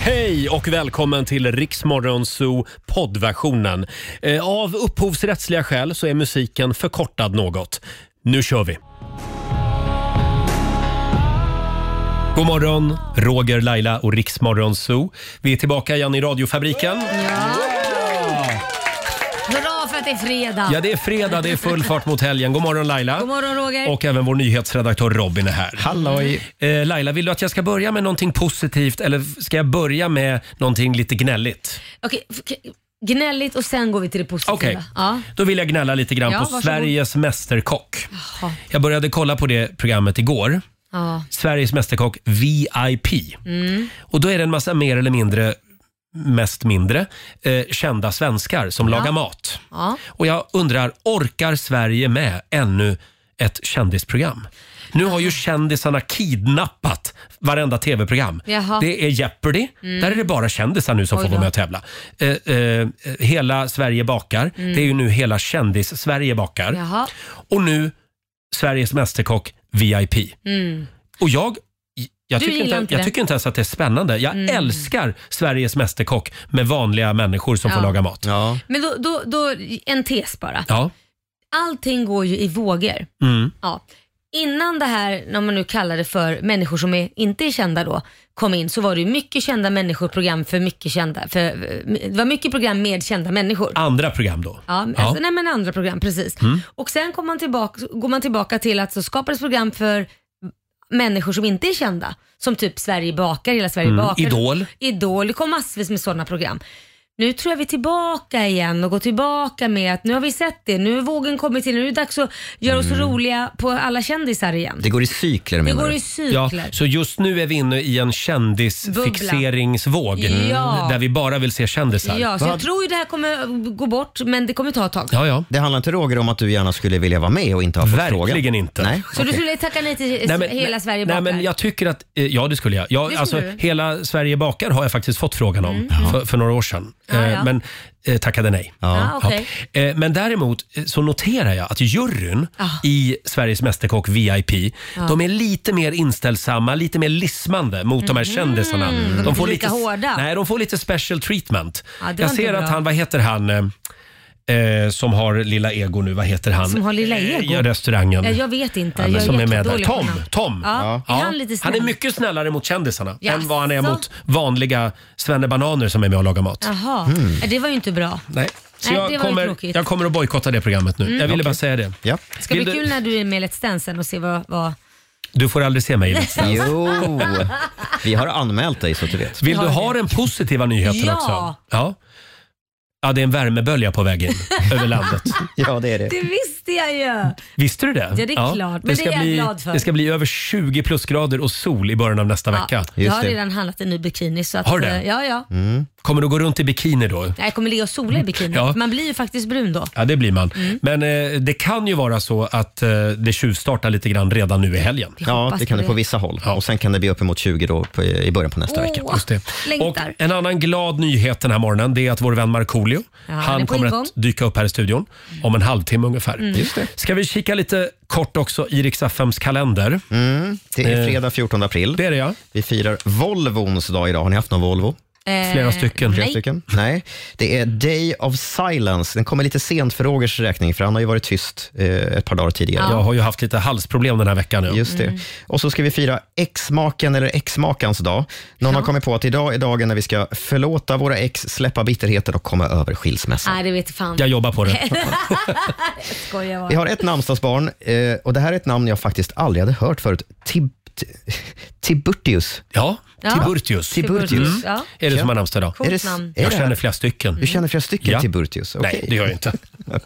Hej och välkommen till Riksmorgonzoo poddversionen. Eh, Av upphovsrättsliga skäl så är musiken förkortad något. Nu kör vi! God morgon, Roger, Laila och Riksmorgonzoo. Vi är tillbaka igen i radiofabriken. Hurra för att det är fredag! Ja, det är fredag, det är full fart mot helgen. God morgon Laila! God morgon Roger! Och även vår nyhetsredaktör Robin är här. Halloj! Eh, Laila, vill du att jag ska börja med någonting positivt eller ska jag börja med någonting lite gnälligt? Okej, f- k- gnälligt och sen går vi till det positiva. Okej, Ja. då vill jag gnälla lite grann Ja, på varsågod. Sveriges Mästerkock. Ja. Jag började kolla på det programmet igår. Ja. Sveriges Mästerkock VIP. Mm. Och då är det en massa mer eller mindre, mest mindre, eh, kända svenskar som lagar mat. Ja. Och jag undrar, orkar Sverige med ännu ett kändisprogram? Nu har ju kändisarna kidnappat varenda tv-program. Jaha. Det är Jeopardy. Där är det bara kändisar nu som Mm. Oj får vara då. med och tävla. Eh, eh, hela Sverige bakar. Mm. Det är ju nu hela kändis-Sverige bakar. Jaha. Och nu Sveriges Mästerkock VIP. Mm. Och jag, jag, Du tycker gillar inte inte, jag det. Mm. tycker inte ens att det är spännande. Jag älskar Sveriges Mästerkock med vanliga människor som får Ja. laga mat. Ja. Men då, då, då, en tes bara. Ja. Allting går ju i vågor. Mm. Ja. Innan det här, när man nu kallar det för människor som är, inte är kända då, kom in så var det ju mycket kända människor, program för mycket kända. För, eh, det var mycket program med kända människor. Andra program då. Ja, men alltså, nej men andra program, precis. Mm. Och sen kom man tillbaka, går man tillbaka till att så skapades program för människor som inte är kända. Som typ Sverige bakar, hela Sverige bakar. Mm, Idol. Idol, det kom massvis med sådana program. Nu tror jag vi är tillbaka igen och går tillbaka med att nu har vi sett det, nu har vågen kommit till, nu är det dags att göra oss Mm. roliga på alla kändisar igen. Det går i cykler Det menar går du? i Ja, cykler. så just nu är vi inne i en kändisfixeringsvåg Mm. Bubbla. Ja. där vi bara vill se kändisar. Ja, så jag Vad- tror ju det här kommer gå bort men det kommer ta ett tag. ja. ja. Det handlar inte Roger om att du gärna skulle vilja vara med och inte har fått Verkligen frågan? inte. Nej, Så du okej. skulle tacka nej till hela Sverige nej, bakar? men jag tycker att, eh, ja det skulle jag. jag Det skulle alltså, du. Mm. hela Sverige bakar har jag faktiskt fått frågan om för, för några år sedan. Ja, Eh, ja. Men eh, tackade nej. Ja, Ja. okej. Eh, Men däremot eh, så noterar jag att juryn Ah. i Sveriges Mästerkock VIP, de är lite mer inställsamma, lite mer lismande mot de här kändisarna. De, Mhm. är inte lika hårda. Nej, de får lite special treatment. Ja, det var jag inte ser att bra. han, vad heter han, eh, eh, som har lilla ego nu, vad heter han? Som har lilla Eh, ego? Ja, restaurangen. Ja, jag vet inte. Ja, men jag som är med där. jättedålig på Tom, namn. Tom. Ja. Ja. Är han lite snäll? är mycket snällare mot kändisarna än Jaså? vad han är mot vanliga svennebananer som är med och lagar mat. Jaha, Ja, det var ju inte bra. Nej. Så Nej, det var jag, ju kommer, tråkigt. Mm. jag kommer att bojkotta det programmet nu. jag ville bara säga det. Ja. Det ska Vill bli du- kul när du är med i Let's Dance sen och se vad... vad... Du får aldrig se mig i Let's Dance. Jo, vi har anmält dig så att du vet. Vill du har ha det. den positiva nyheten Ja. också? Ja. Ja, det är en värmebölja på väg in över landet. Ja, det är det. Det visste jag ju! Visste du det? Ja, det är klart. Men det är jag bli, glad för. Det ska bli över 20 plusgrader och sol i början av nästa vecka. Ja, jag har det. redan handlat en ny bikini. Så att, Har du det? eh, Ja, ja. Kommer du gå runt i bikini då? Jag kommer ligga och sola i bikini. Mm. Ja. Man blir ju faktiskt brun då. Ja, det blir man. Mm. Men eh, det kan ju vara så att eh, det tjuvstartar lite grann redan nu i helgen. Jag Ja, hoppas det kan på det på vissa håll. Och sen kan det bli uppemot 20 då på, i början på nästa vecka. Åh, Just det. Och längtar. en annan glad nyhet den här morgonen det är att vår vän Markoolio, Ja, han är han på kommer ingång. Mm. att dyka upp här i studion om en halvtimme ungefär. Just det. Ska vi kika lite kort också i Rix FMs kalender? Mm. Det är fredag 14 april. Eh. Det är det ja. Vi firar Volvons dag idag. Har ni haft någon Volvo? Eh, Flera stycken. Flera Nej. stycken? Nej. Det är Day of Silence. Den kommer lite sent för Rogers räkning, för han har ju varit tyst eh, ett par dagar tidigare. Jag har ju haft lite halsproblem den här veckan nu. Just det. Mm. Och så ska vi fira exmaken eller exmakans dag. Någon har kommit på att idag är dagen när vi ska förlåta våra ex, släppa bitterheten och komma över skilsmässan. Nej, det vet fan. Jag jobbar på det. Skojar Vi bara. har ett namnsdagsbarn eh, och det här är ett namn jag faktiskt aldrig hade hört förut. Tib Ti- Tiburtius. Ja, Ja. Tiburtius. Tiburtius. Mm. Ja. Är det som har namnsdag idag? Coolt Är det, namn. är Jag det här- känner flera stycken. Du känner flera stycken Ja. Tiburtius? Nej, det gör jag inte.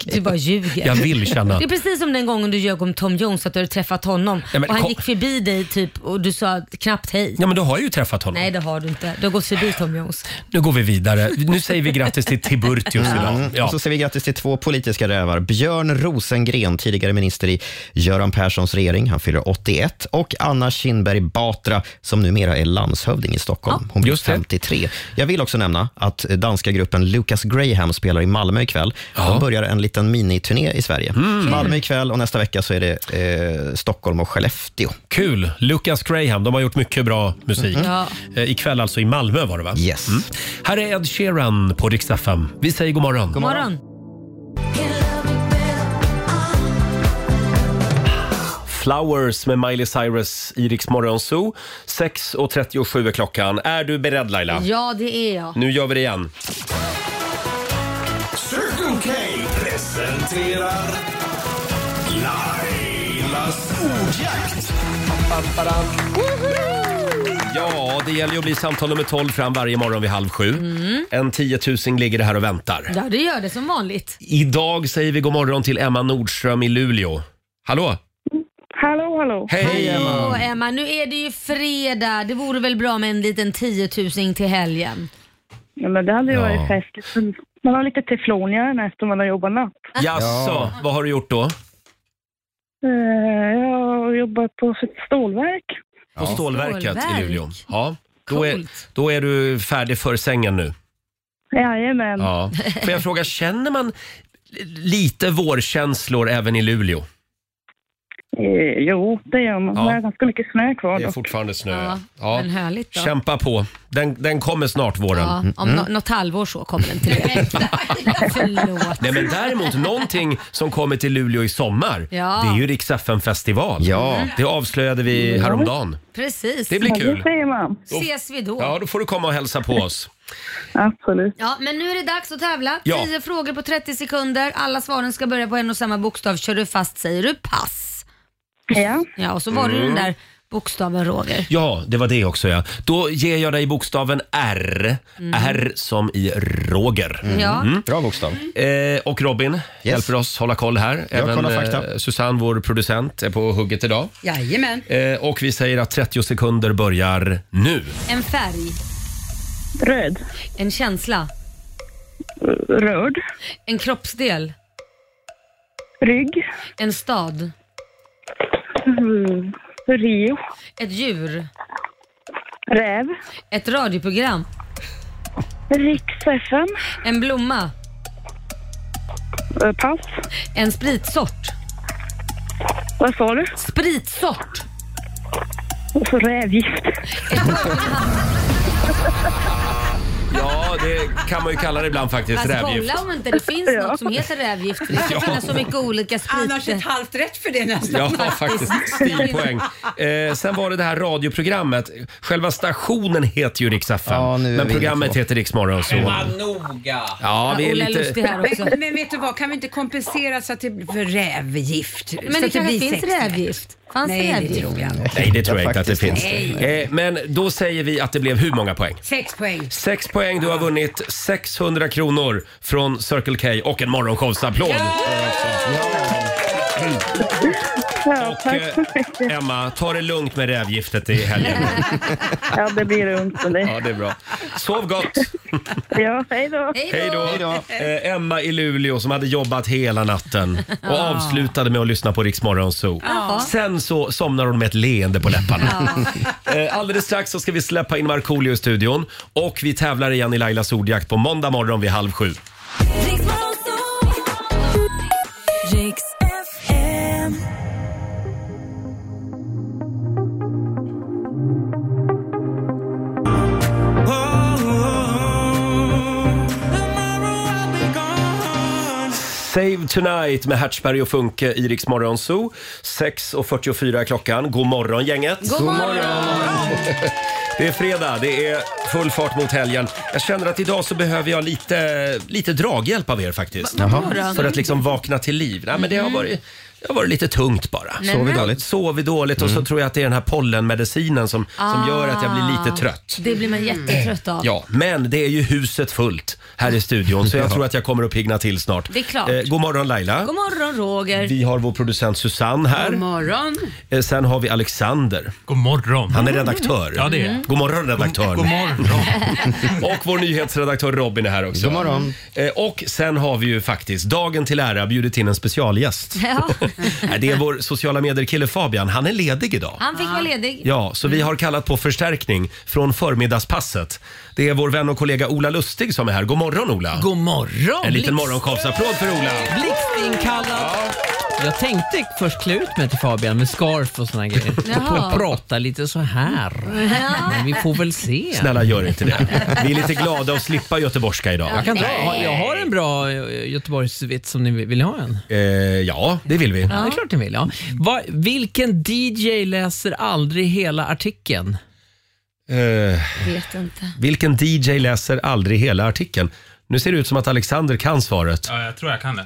Du bara ljuger. Jag vill känna. Det är precis som den gången du ljög om Tom Jones, att du hade träffat honom Ja, men och han kom- gick förbi dig typ och du sa knappt hej. Ja, men då har jag ju träffat honom. Nej, det har du inte. Du har gått förbi Tom Jones. Nu går vi vidare. Nu säger vi grattis till Tiburtius idag. Och Ja. Mm. så säger vi grattis till två politiska rävar. Björn Rosengren, tidigare minister i Göran Perssons regering, han fyller 81. Och Anna Kinberg Batra som numera är landshövding i Stockholm. Hon blir just det. 53. Jag vill också nämna att danska gruppen Lucas Graham spelar i Malmö ikväll. De börjar en liten miniturné i Sverige. Mm. Malmö ikväll och nästa vecka så är det eh, Stockholm och Skellefteå. Kul! Lucas Graham, de har gjort mycket bra musik. Ja. Eh, Ikväll alltså i Malmö var det va? Yes. Här är Ed Sheeran på Rix FM. Vi säger god morgon. God morgon. Flowers med Miley Cyrus i Rix Morgon Zoo. 6.37 är klockan. Är du beredd Laila? Ja, det är jag. Nu gör vi det igen. Circle K presenterar Lailas ordjakt. Ja, det gäller ju att bli samtal nummer 12 fram varje morgon vid halv sju. En tiotusing ligger det här och väntar. Mm. Ja, det gör det som vanligt. Idag säger vi god morgon till Emma Nordström i Luleå. Hallå! Hallå, hallå. Hej! Åh Emma, nu är det ju fredag. Det vore väl bra med en liten tiotusing till helgen? Ja, men det hade ju Ja. varit festligt. Men Man har lite teflonigare näst om man har jobbat natt. Jaså, Ja. vad har du gjort då? Eh, Jag har jobbat på ett stålverk. På stålverket Stålverk. i Luleå. Ja. Då, är, Coolt. då är du färdig för sängen nu. Jajamän. Ja. Får jag fråga, känner man lite vårkänslor även i Luleå? Eh, Jo, det gör man. Ja. Det är ganska mycket snö kvar Det är dock. fortfarande snö. Ja, Eh, Ja. men härligt då. Kämpa Mm. på. Den, den kommer snart, våren. Ja, om no- något halvår så kommer den till dig. Förlåt. Nej, men däremot någonting som kommer till Luleå i sommar, Ja. Mm. det är ju Rix festival Ja. Det avslöjade vi häromdagen. Precis. Det blir Ja, det kul. säger man. Ses vi då. Ja, Ja. då får du komma och hälsa på oss. Absolut. men nu är det dags att tävla. Ja. 10 frågor på 30 sekunder. Alla svaren ska börja på en och samma bokstav. Kör du fast säger du pass. Ja, Ja, och så var det Mm. den där bokstaven Roger. Ja, det var det också ja. Då ger jag dig bokstaven R. Mm. R som i Roger. Ja. Mm. Bra bokstav. Eh, och Robin hjälper oss hålla koll här. Även kollar fakta. eh, Susanne, vår producent, är på hugget idag. Jajamän. Eh, och vi säger att 30 sekunder börjar nu. En färg, röd. en känsla, R- Röd. en kroppsdel, Rygg. en stad, Mm. Rio. ett djur, Räv. ett radioprogram, Riks FM. en blomma, Eh, Pass. en spritsort. Vad sa du? Spritsort! Och så rävgift. Ja, det kan man ju kalla det ibland faktiskt. Fast rävgift. Alltså, kolla om inte det finns något som heter rävgift. för Det kan finnas så mycket olika Annars ett spriter. halvt rätt för det nästan. Ja, faktiskt. Stilpoäng. Eh, sen var det det här radioprogrammet. Själva stationen heter ju Rix FM, Ja, nu är men vi inne programmet på. heter Rix Morgon. Så. noga. Ja, vi är Ola Lustig lite... här också. Men, men vet du vad, kan vi inte kompensera så att det blir för rävgift? Men så det att kanske blir finns sex rätt. rävgift? Fanns Nej, det rävgift? tror jag inte. Nej, det tror jag inte att det Faktiskt finns. Eh, men då säger vi att det blev hur många poäng? Sex poäng. Sex poäng, du har vunnit 600 kronor från Circle K och en morgonshowsapplåd. Ja, Och, tack så mycket. eh, Emma, ta det lugnt med rävgiftet i helgen. Ja, det blir lugnt med det. Ja, det är bra. Sov gott! Ja, hej då. Hej då! Eh, Emma i Luleå som hade jobbat hela natten och avslutade med att lyssna på Rix Morgon Zoo. Jaha. Sen så somnar hon med ett leende på läpparna. Eh, Alldeles strax så ska vi släppa in Markoolio i studion och vi tävlar igen i Lailas ordjakt på måndag morgon vid halv sju. Oh, Save Tonight med Hertzberg och Funke i Rix Morgon Zoo. 6.44 är klockan. God morgon gänget! God morgon! Det är fredag, det är full fart mot helgen. Jag känner att idag så behöver jag lite, lite draghjälp av er faktiskt. För att liksom vakna till liv. Nej, men det, har Mm. varit, det har varit lite tungt bara. Sover dåligt. Sovit dåligt och Mm. så tror jag att det är den här pollenmedicinen som, som gör att jag blir Ah. lite trött. Det blir man jättetrött av. Ja, men det är ju huset fullt här i studion så jag tror att jag kommer att pigna till snart. Eh, Det är klart. god morgon Laila. God morgon Roger. Vi har vår producent Susanne God här. morgon. Eh, Sen har vi Alexander. God morgon. Han är Mm. redaktör. Ja, det är jag. God morgon redaktören. God morgon. Och vår nyhetsredaktör Robin är här också. God morgon. Eh, Och sen har vi ju faktiskt, dagen till ära, bjudit in en specialgäst. Ja. Nej, Det är vår sociala medier-kille Fabian. Han är ledig idag. Han fick vara ledig. Ja, så vi har kallat på förstärkning från förmiddagspasset. Det är vår vän och kollega Ola Lustig som är här. God morgon Ola! God morgon! en liten Blixt- morgonshowsapplåd för Ola! Blixtinkallad. Jag tänkte först klä ut mig till Fabian med scarf och såna grejer. Jaha. Och prata lite så här. Men vi får väl se. Snälla gör inte det. Vi är lite glada att slippa göteborgska idag. Jag, kan dra. jag har en bra eh, Göteborgsvits som ni vill vill ha en. Eh, ja, det vill vi. Ja. Det är klart ni vill. Ja. Va, vilken DJ läser aldrig hela artikeln? Eh, Vet inte. vilken DJ läser aldrig hela artikeln? Nu ser det ut som att Alexander kan svaret. Ja, jag tror jag kan det.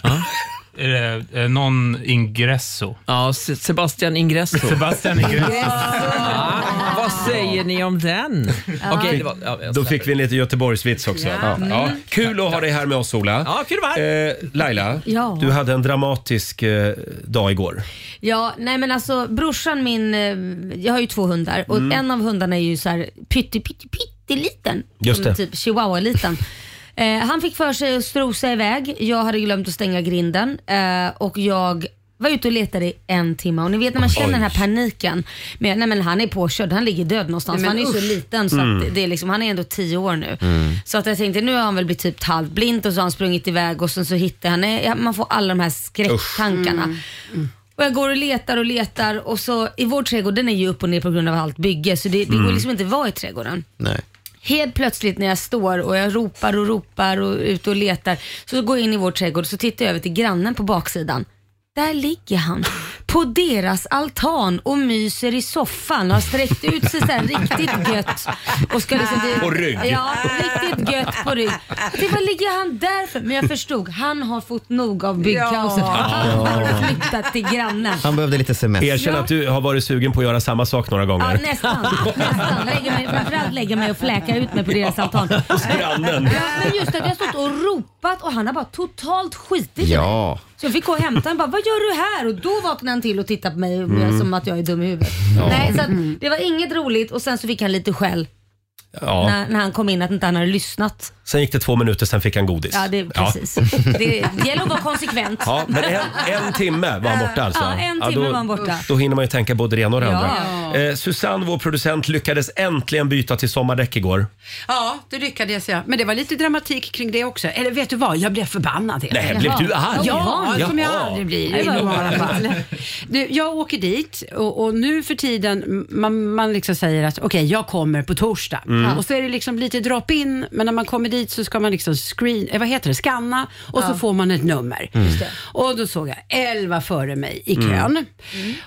Är det eh, någon ingresso? Ja, Se- Sebastian Ingrosso. Sebastian Ingresso. Ah, vad säger ni om den? Okej, det var, ja, jag Då släpper. fick vi en lite Göteborgsvits också. Ja. Mm. Kul att ha dig här med oss Ola. Ja, kul att vara här. Eh, Laila, Ja. du hade en dramatisk eh, dag igår. Ja, nej men alltså brorsan min, eh, jag har ju två hundar och Mm. en av hundarna är ju så här pytte, pytte, pytteliten. Just Som det. Typ chihuahua-liten. eh, han fick för sig att strosa iväg, jag hade glömt att stänga grinden eh, och jag var ute och letade i en timme och ni vet när man känner den här paniken. Men, nej men han är påkörd, han ligger död någonstans. Nej, men han är ju så usch. liten så att det är liksom, han är ändå tio år nu. Så att jag tänkte nu har han väl blivit typ halvblind och så har han sprungit iväg och sen så hittar han, ja, man får alla de här skräcktankarna. Mm. Och jag går och letar och letar och så i vår trädgård, den är ju upp och ner på grund av allt bygge så det, det går liksom inte att vara i trädgården. Nej. Helt plötsligt när jag står och jag ropar och ropar och ut och letar så går jag in i vår trädgård och så tittar jag över till grannen på baksidan. Där ligger han på deras altan och myser i soffan och har sträckt ut sig så här riktigt gött. Och ska liksom till- På rygg. Ja, riktigt gött på rygg. Det vad ligger han där för? Men jag förstod, han har fått nog av byggkaoset. Han har flyttat till grannen. Han behövde lite semester. Erkänn att du har varit sugen på att göra samma sak några Ja, gånger. nästan. nästan. Lägger mig, framförallt lägger mig och fläkar ut mig på deras altan. Grannen. Ja, men just att jag har stått och ropat och han har bara totalt skitit i mig. Ja. Så jag fick gå och hämta honom och bara, vad gör du här? Och då vaknade han till och tittade på mig som att jag är dum i huvudet. Nej, så att, det var inget roligt och sen så fick han lite skäll Ja. när, när han kom in att inte han hade lyssnat. Sen gick det två minuter, sen fick han godis. Ja, det, precis. Det gäller att vara konsekvent. Ja, men en, en timme var han borta alltså. Ja, en timme då, var han borta. Då hinner man ju tänka både det ena och det Ja. andra. Eh, Susanne, vår producent, lyckades äntligen byta till sommardäck igår. Ja, det lyckades jag. Men det var lite dramatik kring det också. Eller vet du vad, jag blev förbannad helt Nej, blev du arg? Ja, som jag Jaha. aldrig blir Det i var normala fall. Du, jag åker dit och, och nu för tiden, man, man liksom säger att okej, jag kommer på torsdag. Och så är det liksom lite drop-in, men när man kommer dit så ska man liksom screen, eh, vad heter det, scanna och så får man ett nummer. Och då såg jag 11 före mig i kön.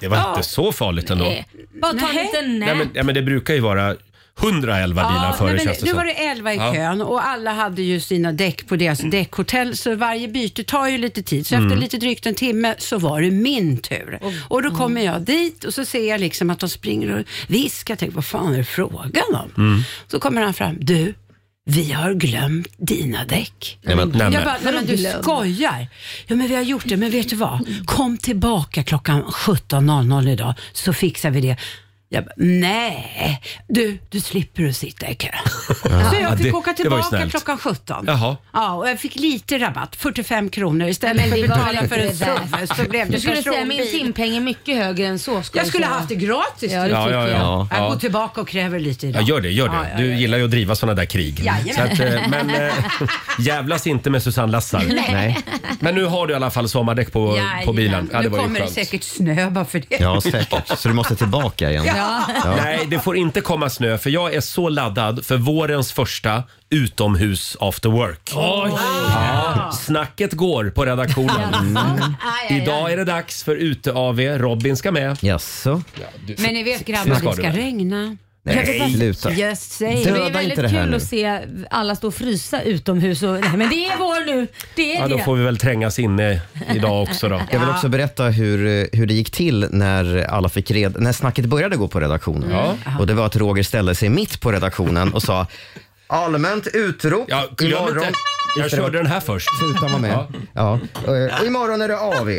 Det var Ja. Eh, inte så farligt ändå. Nej. Eh, Bara ta en Nej. liten nät. men, ja, men det brukar ju vara 111 bilar före nej, men känns det Nu som. var det 11 i Ja. kön och alla hade ju sina däck på deras däckhotell, så varje byte tar ju lite tid. Så Mm. efter lite drygt en timme så var det min tur. Och då kommer jag dit och så ser jag liksom att de springer och viskar. Jag tänker, vad fan är det frågan om? Mm. Så kommer han fram, du, vi har glömt dina däck. Nej, men, Nej, men, Jag bara, nej, men du skojar. Ja, men vi har gjort det, men vet du vad? Kom tillbaka klockan 17.00 idag så fixar vi det. Jag bara, nej, du, du slipper att sitta i kö. Så Ja, jag fick åka det- det var ju tillbaka snällt. klockan 17. Jaha. Ja, och jag fick lite rabatt, 45 kronor. Istället Men för det att var betala inte för en det där. server så blev det Du skulle säga min personbil. timpeng är mycket högre än så. Jag skulle säga. ha haft det gratis. Ja, det Ja, tycker ja, jag. ja. Jag ja. går tillbaka och kräver lite Ja, idag. gör det, gör Ja, ja, det. Du gillar ju att driva sådana där krig. Jajamän. Så att, eh, men eh, jävlas inte med Susanne Lassar. nej. Men nu har du i alla fall sommardäck på, på Jajamän. bilen. Ja, det nu var ju kommer det skönt. säkert snö bara för det. Ja, säkert. Så du måste tillbaka igen. Nej, det får inte komma snö för jag är så laddad för vårens första utomhus after work. Ja. Snacket går på redaktionen. Mm. Idag är det dags för ute-AV. Robin ska med. Jaså? Men ni vet Sen grabbar, ska det ska du där. regna. Nej, sluta. Just say Det är Döda väldigt inte det här kul nu. att se alla stå och frysa utomhus. Och, nej, men det är vår nu. Det är Ja, det. då får vi väl trängas inne idag också då. Jag vill också berätta hur, eh, hur det gick till när alla fick red, när snacket började gå på redaktionen. Och det var att Roger ställde sig mitt på redaktionen och sa allmänt utrop Ja, glöm inte. Jag körde den här först. Tutan var med. Ja. Och, eh, Och imorgon är det AV.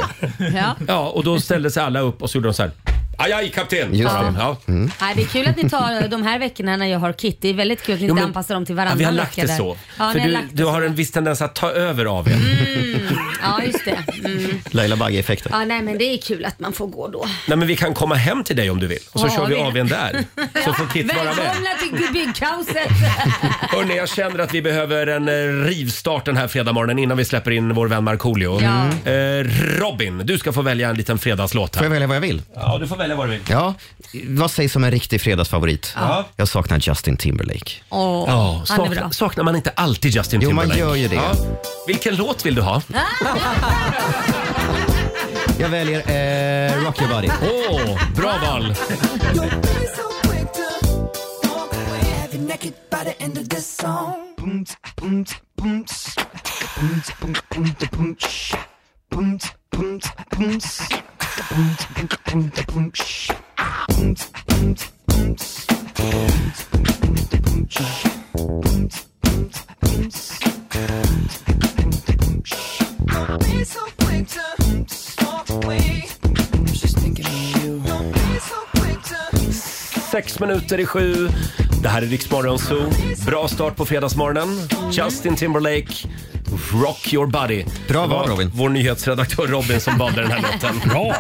Ja, och då ställde sig alla upp och så gjorde de så här. Aj, aj, kapten! Just det. Ja. Nej, det är kul att ni tar de här veckorna när jag har Kitty. Det är väldigt kul att ni Jo, inte men- anpassar dem till Mm. Ja, varandra. vi har lagt det så. Mm. Ja, ni För har du, lagt du har en viss tendens att ta över av er. ja just det. Mm. Laila Bagge-effekten. Ja, nej, men det är kul att man får gå då. Nej, men vi kan komma hem till dig om du vill och så Ja, kör vi det- av en där. Så får Kit vara med. Välkomna till byggkaoset! Hörni, jag känner att vi behöver en eh, rivstart den här fredagmorgonen innan vi släpper in vår vän Markoolio. Ja. Eh, Robin, du ska få välja en liten fredagslåt Får jag här. välja vad jag vill? Ja, du får välja vad du vill. Ja, vad sägs om en riktig fredagsfavorit? Jag saknar Justin Timberlake. Åh, Ja, han är saknar, bra. saknar man inte alltid Justin Jo, man Timberlake? gör ju det. Vilken låt vill du ha? Jag väljer eh, Rock Your Body. Åh, bra val! Sex minuter i sju. Det här är Riksmorgon Zoo. Bra start på fredagsmorgonen. Justin Timberlake, Rock Your Body. Bra Det val, var Robin. Vår nyhetsredaktör Robin som valde den här låten. Bra!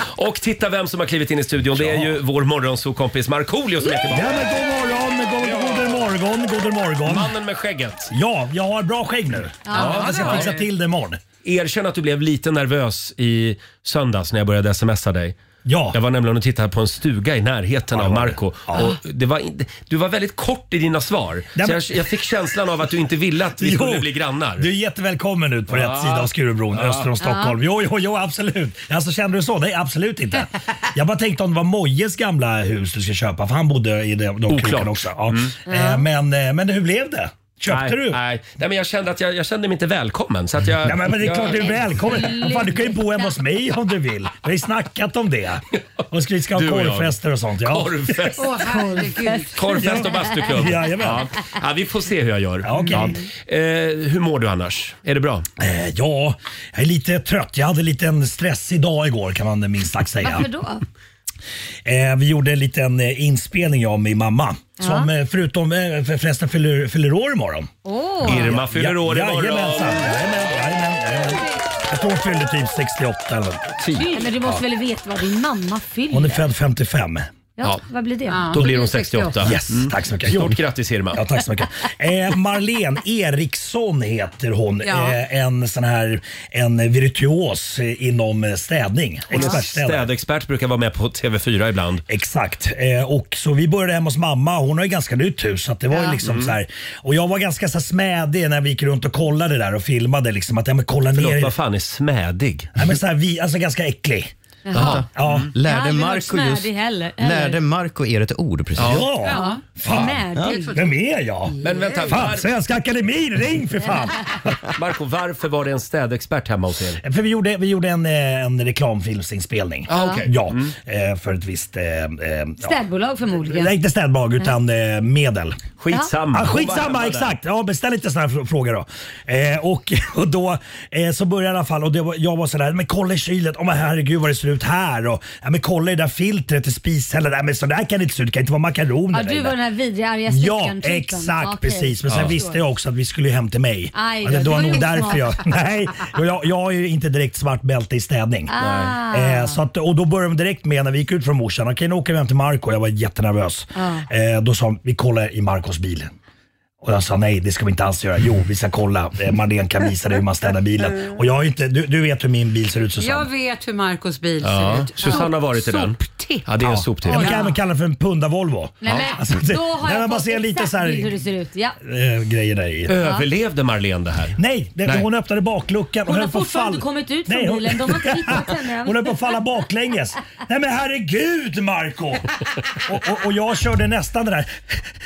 Och titta vem som har klivit in i studion. Det är ju vår morgonzoo-kompis Markoolio som är Ja, tillbaka. men god morgon, god, god morgon, god morgon. Mannen med skägget. Ja, jag har bra skägg nu. Ja, jag ska fixa till det imorgon. Erkänn att du blev lite nervös i söndags när jag började smsa dig. Ja, Jag var nämligen och tittade på en stuga i närheten av var det. Marco och det var, in- du var väldigt kort i dina svar. Så men- jag, jag fick känslan av att du inte ville att vi Jo, skulle bli grannar. Du är jättevälkommen ut på rätt sida av Skurubron öster om Stockholm. Jo, jo, jo, absolut. Alltså, kände du så? Nej, absolut inte. Jag bara tänkte om det var Mojes gamla hus du ska köpa, för han bodde i de, de Oklart. Mm. krokarna också. Ja. Eh, men, eh, men hur blev det? Köpte nej, du? Nej, nej men jag kände att jag, jag kände mig inte välkommen. Så att jag, Ja, men, men det är jag, klart du är välkommen. Vad Fan, du kan ju bo hemma hos mig om du vill. Vi har ju snackat om det. Och ska- vi ska ha Du och jag. korvfester och sånt. Ja. Korvfest, Åh herregud. korvfest och bastuklubb. Jajamän. Ja, vi får se hur jag gör. Ja, okej. Eh, hur mår du annars? Är det bra? Eh, ja, jag är lite trött. Jag hade lite en stressig dag igår kan man minst sagt säga. Varför då? Eh, vi gjorde en liten eh, inspelning jag och min mamma. Som eh, förutom, eh, för- förresten fyller, fyller år imorgon. Åh, Irma fyller år imorgon. imorgon. Jajamensan. Jajamän, jajamän, jajamän. Jag tror hon fyller typ 68 eller något. nej, men du måste väl veta vad din mamma fyller? Hon är född 55. ja, vad blir det? Då blir hon 68. Yes, tack så mycket. Mm. Stort grattis Irma. Ja, tack så mycket. Eh, Marlene Eriksson heter hon. Ja. Eh, en sån här en virtuos eh, inom eh, städning. Expertstädare. Städexpert brukar vara med på TV4 ibland. Exakt. Eh, och så vi började hemma hos mamma. Hon har ju ganska nytt hus. Så att det var ju Mm. liksom så här. Och jag var ganska så här smädig när vi gick runt och kollade där och filmade. Liksom, att, ja, men kolla Förlåt, ner. vad fan är smädig? Nej, men så här, vi, alltså ganska äcklig. Ja. Mm. Jag har Lärde aldrig varit Marco smärdig just... heller, eller? Lärde Marco er ett ord precis? Ja. Ja. Fan. Smärdig. Vem är Mm. jag? Men vänta, Fan, var, Svenska Akademin, ring för fan! Marco, varför var det en städexpert hemma hos er? För vi gjorde, vi gjorde en, eh, en reklamfilmsinspelning. Ah, okej. Ja, eh, för ett visst... eh, eh, ja. Städbolag förmodligen. Nej, inte städbolag utan eh, medel. Skitsamma. Ja, Hon var Ah, skitsamma, hemma där. exakt. Ja, beställ inte sådana här fr- frågor då. Eh, och, och då eh, så började jag i alla fall och det var, jag var sådär, men kolla i kylet, oh, men herregud vad det ser ut här. Och, ja, men kolla i det där filtret i spishällen, Nej, men sådär kan det inte se ut, det kan inte vara makaroner Ja, där du inne. var den här vidriga arga Ja, snickaren-typen. exakt. Okej. Precis. Men sen visste jag också att vi skulle ju hem till mig. Aj Ja, då, det, det var var ju nog därför smart. jag... Nej, och jag, jag är ju inte direkt svart bälte i städning. Ah. Eh, så att, och då började de direkt med när vi gick ut från morsan. Okej, nu åker vi hem till Marco. Jag var jättenervös. Ah. Eh, då sa de, vi kollar i Marcos bil. Och jag sa nej, det ska vi inte alls göra. Jo, vi ska kolla. Eh, Marlene kan visa dig hur man städar bilen. Och jag har ju inte, du, du vet hur min bil ser ut Susanne. Jag vet hur Marcos bil Ja, ser ut. Susanne har varit i den. Soptipp. Ja, det är en soptipp. Man kan även kalla den för en Punda Volvo. Nej, men, Alltså, det- då har nej, men jag man fått ser lite exakt så här, bild hur det ser ut. Ja. eh, grejer där i. Överlevde Marlene det här? Nej, det, Nej. hon öppnade bakluckan. Hon har höll på att fortfarande inte fall- kommit ut från bilen. De har inte hittat henne än. Hon höll på att falla baklänges. Nej men herregud Marco och, och, och jag körde nästan det där.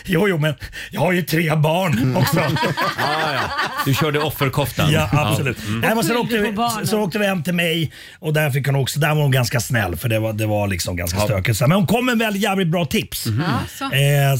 Jo, jo, men jag har ju tre Mm. barn också. Ah, ja. Du körde offerkoftan. Ja, absolut. Mm. Nej, men sen, Och åkte skyllde vi, på barnen. sen åkte vi hem till mig och där, fick hon också, där var hon ganska snäll för det var, det var liksom ganska stökigt. Så här, Men hon kom med väldigt jävligt bra tips. Mm. Mm. Alltså.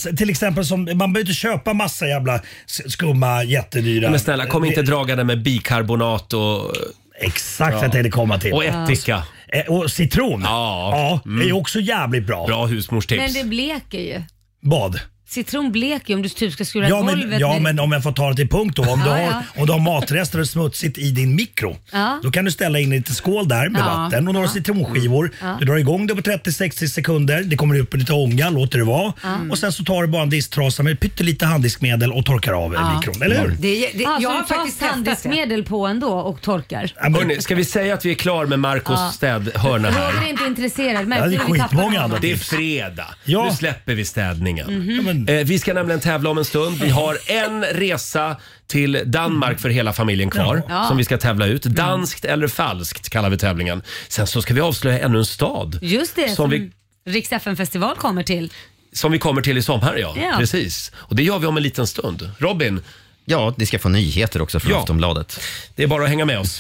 Eh, så- till exempel, som, man behöver inte köpa massa jävla s- skumma jättedyra. Ja. Men snälla, kom inte dragande med bikarbonat och, Exakt vad jag tänkte komma till. och ättika. Eh, Och citron. Ja. Mm. Det är också jävligt bra. Bra Men husmorstips. det bleker ju. Bad. Citron bleker ju om du typ ska skura Ja golvet. men, ja med- men om jag får ta det till punkt då. Om du Ja, har, ja. om du har matrester och smutsigt i din mikro. Ja. Då kan du ställa in i lite skål där med Ja. vatten och några citronskivor. Ja. Du drar igång det på 30-60 sekunder. Det kommer upp lite ånga, låter det vara. Och sen så tar du bara en disktrasa med pyttelite handdiskmedel och torkar av Ja. Mm. mikron. Eller hur? Det, det, Ja, jag så har du tar faktiskt testat det. tanddiskmedel på ändå och torkar? Ja, men- Hörrni, ska vi säga att vi är klar med Marcos Ja. städhörna Roger är här? inte intresserad. Ja, Märker det är du hur vi tappar skitmånga honom? andra Det är tips. fredag. Ja. Mhm. Nu släpper vi städningen. Ja, men- Mm. Eh, vi ska nämligen tävla om en stund. Vi har en resa till Danmark för hela familjen kvar Ja. Mm. som vi ska tävla ut. Danskt eller falskt kallar vi tävlingen. Sen så ska vi avslöja ännu en stad Just det, Som som, vi- Rix festival kommer till. som vi kommer till i sommar. Ja. Ja. Precis. Och det gör vi om en liten stund. Robin, Ja, ni ska få nyheter också från Ja. Aftonbladet. det är bara att hänga med oss.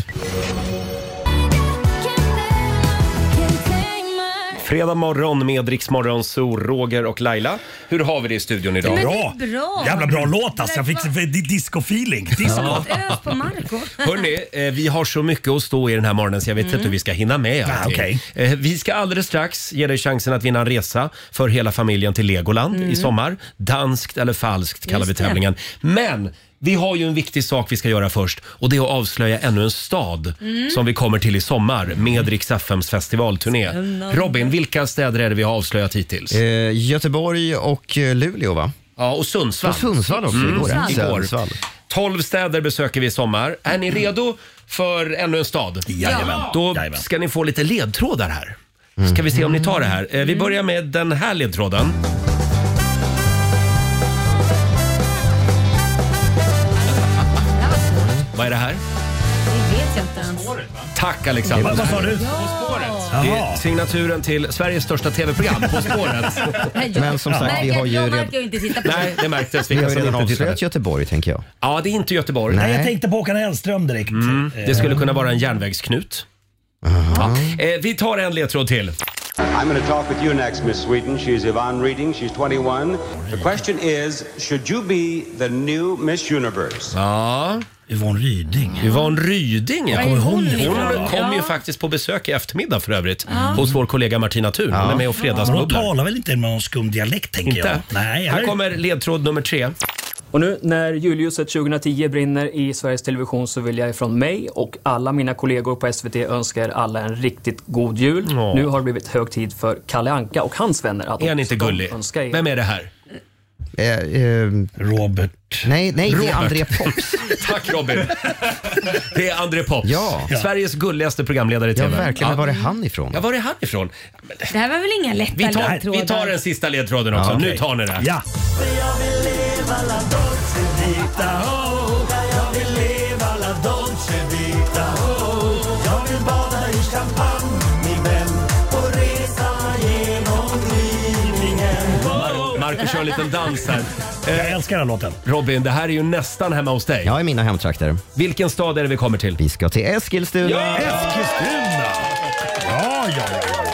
Fredag morgon med Rix Morgon, Zoo, Roger och Laila. Hur har vi det i studion idag? Men- Bra. det är bra. Jävla bra låt alltså. Jag fick fick disco-feeling. Disco. Förlåt, ös på Marco. Hörni, eh, vi har så mycket att stå i den här morgonen så jag vet inte hur vi ska hinna med Ah, allting. okej. Eh, Vi ska alldeles strax ge dig chansen att vinna en resa för hela familjen till Legoland i sommar. Danskt eller falskt kallar vi Just det. tävlingen. Men vi har ju en viktig sak vi ska göra först och det är att avslöja ännu en stad som vi kommer till i sommar med Rix FMs festivalturné. Robin, vilka städer är det vi har avslöjat hittills? Eh, Göteborg och eh, Luleå, va? Ja, och Och Sundsvall. Sundsvall också igår. ja. Igår. Sundsvall. 12 städer besöker vi i sommar. Är ni redo för ännu en stad? Jajamän. Då Jajamän. ska ni få lite ledtrådar här. Ska vi se om ni tar det här. Eh, Vi börjar med den här ledtråden. Vad är det här? Det vet jag inte ens. Tack Alexander. Vad vad sa du? Det Jaha. är signaturen till Sveriges största tv-program, På spåret. Nej, jag- Men som sagt, Märker vi har att ju jag redan- märker ju inte titta på Nej, det märktes. Vi Vilka har ju som redan inte tittade. avslöjat Göteborg, tänker jag. Ja, det är inte Göteborg. Nej. Jag tänkte på Håkan Hellström direkt. Mm. Eh, Det skulle kunna vara en järnvägsknut. Ja. Eh, vi tar en ledtråd till. I'm going to talk with you next, Miss Sweden. She's Yvonne Reading. She's 21. The question is Should you be the new Miss Universe? Ja. Yvonne Ryding. Yvonne Ryding, ja. Var är hon ifrån Hon då? kom ju Ja. faktiskt på besök i eftermiddag för övrigt hos vår kollega Martina Thun. Hon är med och Men hon fredagsbubblar. talar väl inte med någon skum dialekt tänker jag? Inte? Nej, Här eller? kommer ledtråd nummer tre. Och nu när juljuset 2010 brinner i Sveriges Television så vill jag ifrån mig och alla mina kollegor på SVT önska er alla en riktigt god jul. Ja. Nu har det blivit hög tid för Kalle Anka och hans vänner att Är han inte de gullig? önskar er Vem är det här? Eh, eh, Robert. nej, nej, det Robert. är André Pops. Tack Robin! Det är André Pops. Ja. Sveriges gulligaste programledare i Ja, TV. verkligen. Ja. Var är han ifrån? Ja, var är han ifrån? Men Det här var väl inga lätta Vi tar, ledtrådar? vi tar den sista ledtråden också. Ja, okej. Nu tar ni det. Ja. Marco kör en liten dans här. Jag älskar den här låten. Robin, det här är ju nästan hemma hos dig. Jag är mina hemtrakter. Vilken stad är det vi kommer till? Vi ska till Eskilstuna. Eskilstuna! Ja, ja, ja,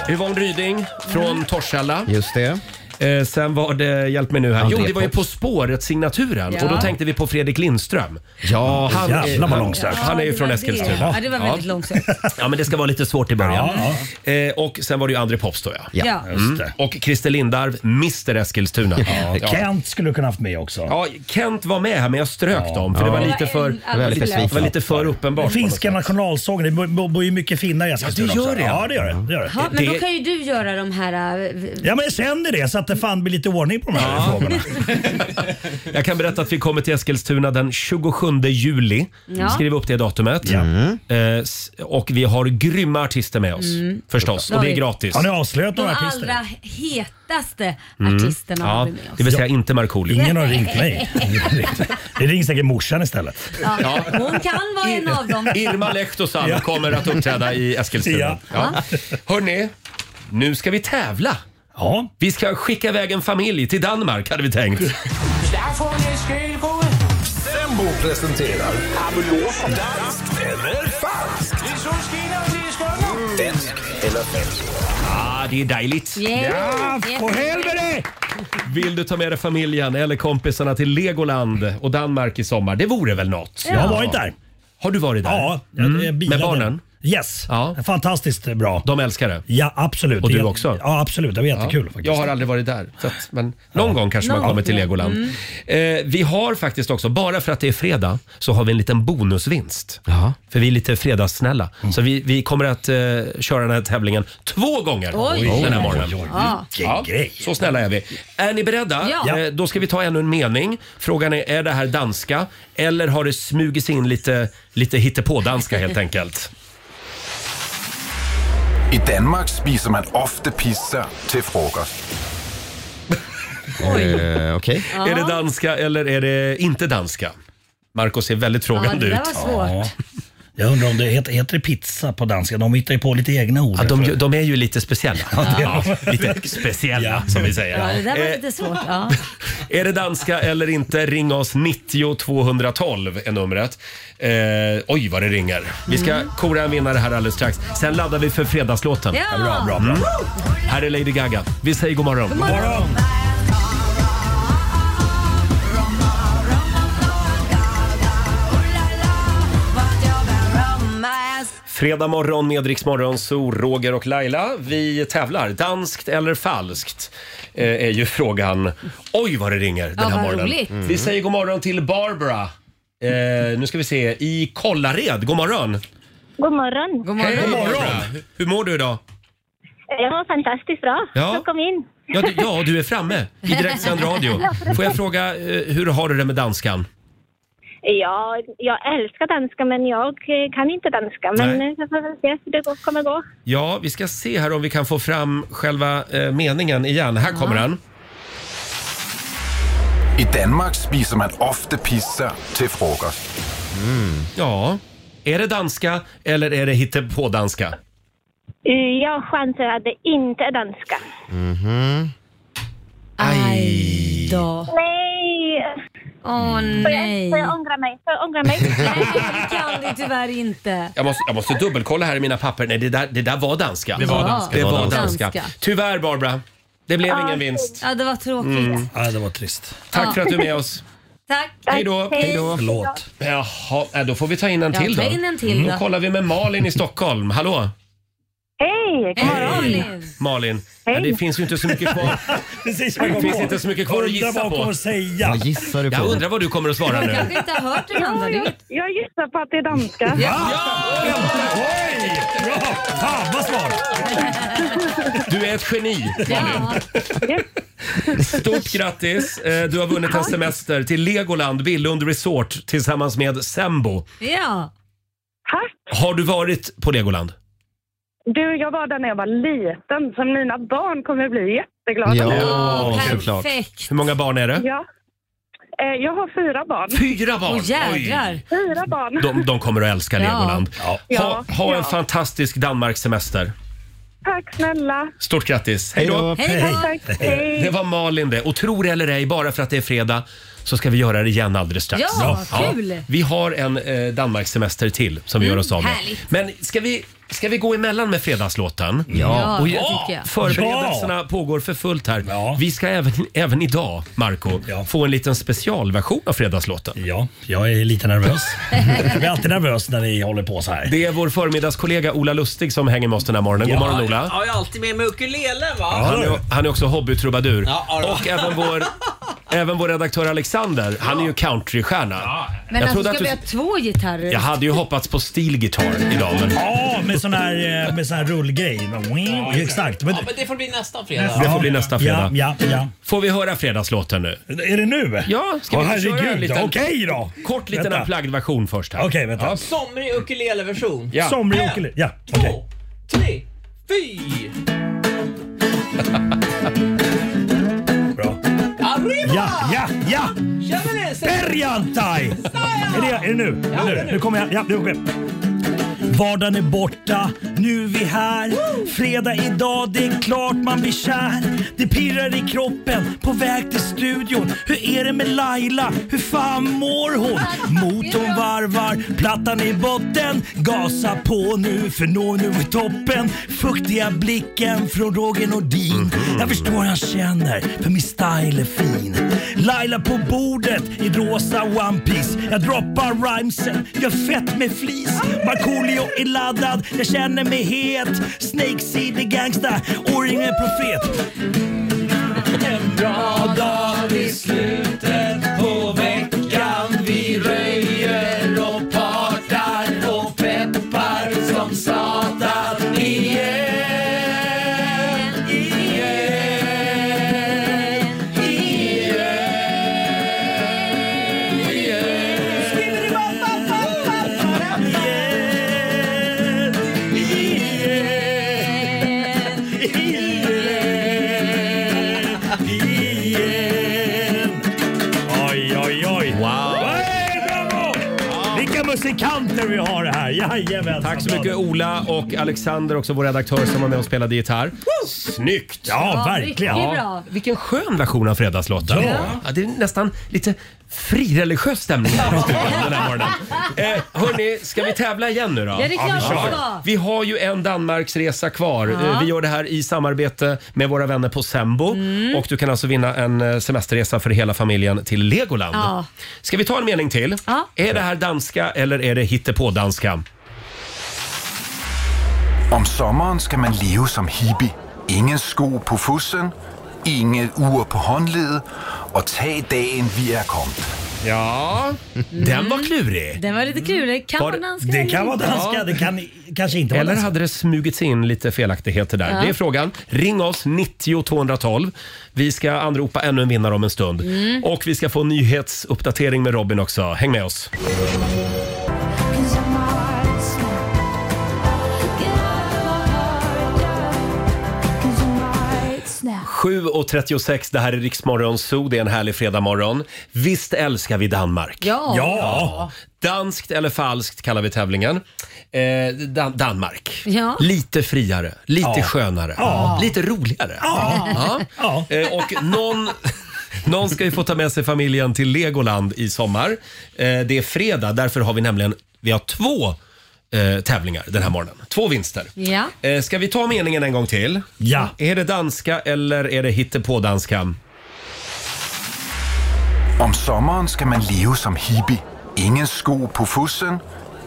ja. Yvonne Ryding från Torshälla. Just det. Mm. Eh, sen var det, hjälp mig nu här. Jo, André det var ju På Pops. spåret-signaturen och då Ja. tänkte vi på Fredrik Lindström. Ja, Han, Jävlar eh, vad han- långsökt. Han är ju det från var Eskilstuna. Det. Ja, det var väldigt långsökt. Ja, men det ska vara lite svårt i början. Ja, Eh, och sen var det ju André Pops då ja. Ja. Ja. Just det. Och Christer Lindarw, Mr Eskilstuna. Mm. Ja. Kent skulle du kunna haft med också. Ja, Kent var med här men jag strök dem för det var lite för, en var lite alldeles det var besviken. lite för uppenbart. Finska nationalsången, det bo- bo- bor ju mycket finnar i Eskilstuna Ja, det gör också. det. Ja, det gör det. det, gör det. Ja, men Det- då kan ju du göra de här... äh, v- Ja, men jag känner det så att det fan blir lite ordning på de här frågorna. Jag kan berätta att vi kommer till Eskilstuna den 27 juli. Ja. Skriv upp det datumet. Eh, s- och vi har grymma artister med oss förstås. Och det är gratis. Har ni avslöjat De några artister? allra hetaste artisterna har Mm. Ja, vi med oss. det vill säga inte Markoolio. Ingen har ringt mig. Det ringer säkert morsan istället. Ja. Hon kan vara en av dem. Irma Lehtosalo Ja. kommer att uppträda i Eskilstuna. Ja. Ja. Hörni, nu ska vi tävla. Ja, Vi ska skicka iväg en familj till Danmark hade vi tänkt. Sembo presenterar Danskt eller falskt? Danskt eller falskt? Ah, det är dejligt. Yeah. på helvete! Vill du ta med dig familjen eller kompisarna till Legoland och Danmark i sommar? Det vore väl något? Jag har varit där. Har du varit där? Ja, jag- jag bilade. Mm. Med barnen? Yes, fantastiskt bra. De älskar det. Ja, absolut. Och Det är du jät- också? Ja, absolut. Det var jättekul faktiskt. Jag har aldrig varit där. Så att, men någon gång kanske man Någon kommer gång. Mm. till Legoland. Eh, vi har faktiskt också, bara för att det är fredag, så har vi en liten bonusvinst. För vi är lite fredagssnälla. Mm. Så vi, vi kommer att eh, köra den här tävlingen två gånger Oj. den här Oj, morgonen. oj, oj, Ja. vilken grej. Så snälla är vi. Är ni beredda? Ja. Eh, då ska vi ta ännu en mening. Frågan är, är det här danska? Eller har det smugits in lite, lite hittepådanska helt enkelt? I Danmark spiser man ofte pizza till frukost. Eh, Okej. Ja. Är det danska eller är det inte danska? Marco ser väldigt frågande det ut. där var svårt. Jag undrar om det heter, heter det pizza på danska? De hittar ju på lite egna ord. Ja, de, de är ju lite speciella. Ja, lite speciella som vi säger. Ja, det där var Eh, lite svårt. Ja. Är det danska eller inte? Ring oss 90 212 är numret. Eh, oj vad det ringer. Vi ska kora en vinnare här alldeles strax. Sen laddar vi för fredagslåten. Ja! Ja, bra, bra, bra. Mm. Här är Lady Gaga. Vi säger god morgon. God morgon. Fredag morgon med Rix Morgon, så Roger och Laila. Vi tävlar. Danskt eller falskt eh, är ju frågan. Oj vad det ringer den Ja, här vad morgonen. roligt. Vi säger god morgon till Barbara. Eh, nu ska vi se, i Kollared. God morgon! God morgon. God Hej Barbara! Hur mår du idag? Det var fantastiskt bra. Ja. Jag kom in. Ja du, ja, du är framme i direktsänd radio. Får jag fråga, eh, hur har du det med danskan? Ja, jag älskar danska men jag eh, kan inte danska. Men Nej. eh, jag får väl se hur det går- kommer gå. Ja, vi ska se här om vi kan få fram själva eh, meningen igen. Här kommer den. I Danmark spiser man ofte pizza till frukost. Ja, är det danska eller är det hittepådanska? Eh, Jag chansar att det inte är danska. Mhm. Aj. Då. Nej! Åh nej. Får jag ångra mig? Får jag ångra mig? Det kan det tyvärr inte. Jag måste, jag måste dubbelkolla här i mina papper. Nej, det där, det där var danska. Det var Ja. danska. Det var Danska. danska. Tyvärr Barbara, det blev Ja, ingen vinst. Ja, det var tråkigt. Mm. Ja, det var trist. Tack Ja. för att du är med oss. Tack. Hej då. Förlåt. Jaha, äh, då får vi ta in en Ja, till då. Mm, ta in en till då. Då kollar vi med Malin i Stockholm. Hallå? Hej! God morgon. Malin. Ja, det finns ju inte så mycket kvar. Precis vad jag Det kom finns på. inte så mycket kvar att Undrar vad gissa hon på. kommer säga. Vad gissar du på? Jag undrar vad du kommer att svara Jag nu. kanske inte har hört den andra. jag, jag gissar på att det är danska. Ah, Oj! Bra! Fan vad smart! Du är ett geni, Malin. Stort grattis! Eh, Du har vunnit en semester till Legoland Billund Resort tillsammans med Sembo. Ja. Har du varit på Legoland? Du, jag var där när jag var liten, så mina barn kommer bli jätteglada. såklart. Hur många barn är det? Ja. Eh, jag har fyra barn. Fyra barn? Åh, jädrar. Oj. Fyra barn. De, de kommer att älska Ja. Legoland. Ja. Ha, ha Ja. en fantastisk Danmarkssemester. Tack snälla. Stort grattis! Hej då! Hej då. Tack. Hej. Det var Malin det. Och tro det eller ej, bara för att det är fredag så ska vi göra det igen alldeles strax. Ja, kul. Vi har en eh, Danmarkssemester till som vi Mm, gör oss av med. härligt. Men ska vi, ska vi gå emellan med fredagslåten? Ja, Och, det tycker jag. Förberedelserna pågår för fullt här. Vi ska även, även idag, Marco, få en liten specialversion av fredagslåten. Ja, jag är lite nervös. jag blir alltid nervös när ni håller på så här. Det är vår förmiddagskollega Ola Lustig som hänger med oss den här morgonen. God morgon Ola! Ja, jag är alltid med mig ukulelen va? Han är, han är också hobbytrubadur. Ja, ja, ja. Och även vår, även vår redaktör Alexander, han är ju countrystjärna. Men alltså, trodde ska vi ha två gitarrer? jag hade ju hoppats på stilgitarr idag. Men... Ja, med sån här, eh, med sån här rullgrej. Exakt. Men, Ja, men det får bli nästan fredag. Det får bli nästa fredag. Ja, ja, ja. Får vi höra fredagslåten nu? Är det nu? Ja, ska Åh, vi köra en herregud. liten, Okej då. kort liten Vänta. unplugged-version först? här? Okej, vänta. Ja. Somrig ukuleleversion. Ja. Somrig En, ukulele- Ja, Två, tre, fyra. Bra. Arriba! Ja, ja, ja! Känner ni? Perjantai! Är det, är det nu? Ja, nu? det är nu. Nu kommer jag. Ja, nu kommer jag. Vardagen är borta, nu är vi här. Fredag idag, det är klart man blir kär. Det pirrar i kroppen, på väg till studion. Hur är det med Laila? Hur fan mår hon? Motorn varvar, plattan i botten. Gasa på nu, för nå nu är toppen. Fuktiga blicken från Roger Nordin. Jag förstår han känner, för min style är fin. Laila på bordet i rosa One Piece Jag droppar rhymesen, gör fett med flis. Markoolio är laddad, jag känner mig het. Snake City gangsta, O-ring är profet. En bra dag i slutet på veckan. Vi röjer och partar och peppar som satan igen. Igen, igen, igen. Igen, igen, igen. Oj, oj, oj. Wow. Bravo! Vilka musikanter vi har här. Jajamän. Tack så mycket Ola och Alexander, också vår redaktör som var med och spelade gitarr. Snyggt! Ja, verkligen. mycket bra. Vilken skön version av Fredagslotta. Ja. Ja, det är nästan lite frireligiös stämning här i studion den här morgonen. Eh, hörni, ska vi tävla igen nu då? Ja, det är klart vi vi kör. ska. Vi har ju en Danmarksresa kvar. Ja. Eh, Vi gör det här i samarbete med våra vänner på Sembo. Och du kan alltså vinna en eh, semesterresa för hela familjen till Legoland. Ja. Ska vi ta en mening till? Är det här danska eller är det hittepådanska? Om sommeren skal man leve som hippie. Ingen sko på fussen, ingen ur på håndledet, og tag dagen vi er kommet. Ja, Mm. den var klurig. Den var lite klurig. Kan Var- vara danska. eller inte. kan kanske inte vara Eller danska. hade det smugit sig in lite felaktigheter där? Ja. Det är frågan. Ring oss, 90 212. Vi ska anropa ännu en vinnare om en stund. Mm. Och vi ska få en nyhetsuppdatering med Robin också. Häng med oss. Snap. 7.36, det här är Riksmorgon Zoo. Det är en härlig fredagmorgon. Visst älskar vi Danmark? Ja. ja. Danskt eller falskt kallar vi tävlingen. Eh, Dan- Danmark. Ja. Lite friare, lite Ja. skönare, Ja. lite roligare. Ja. Eh, och någon, någon ska ju få ta med sig familjen till Legoland i sommar. Eh, det är fredag, därför har vi nämligen vi har två eh, tävlingar den här morgonen. Två vinster. Ja. Eh, ska vi ta meningen en gång till? Ja. Är det danska eller är det hittepådanska? Om sommeren skal man leve som hippie. Ingen sko på fussen,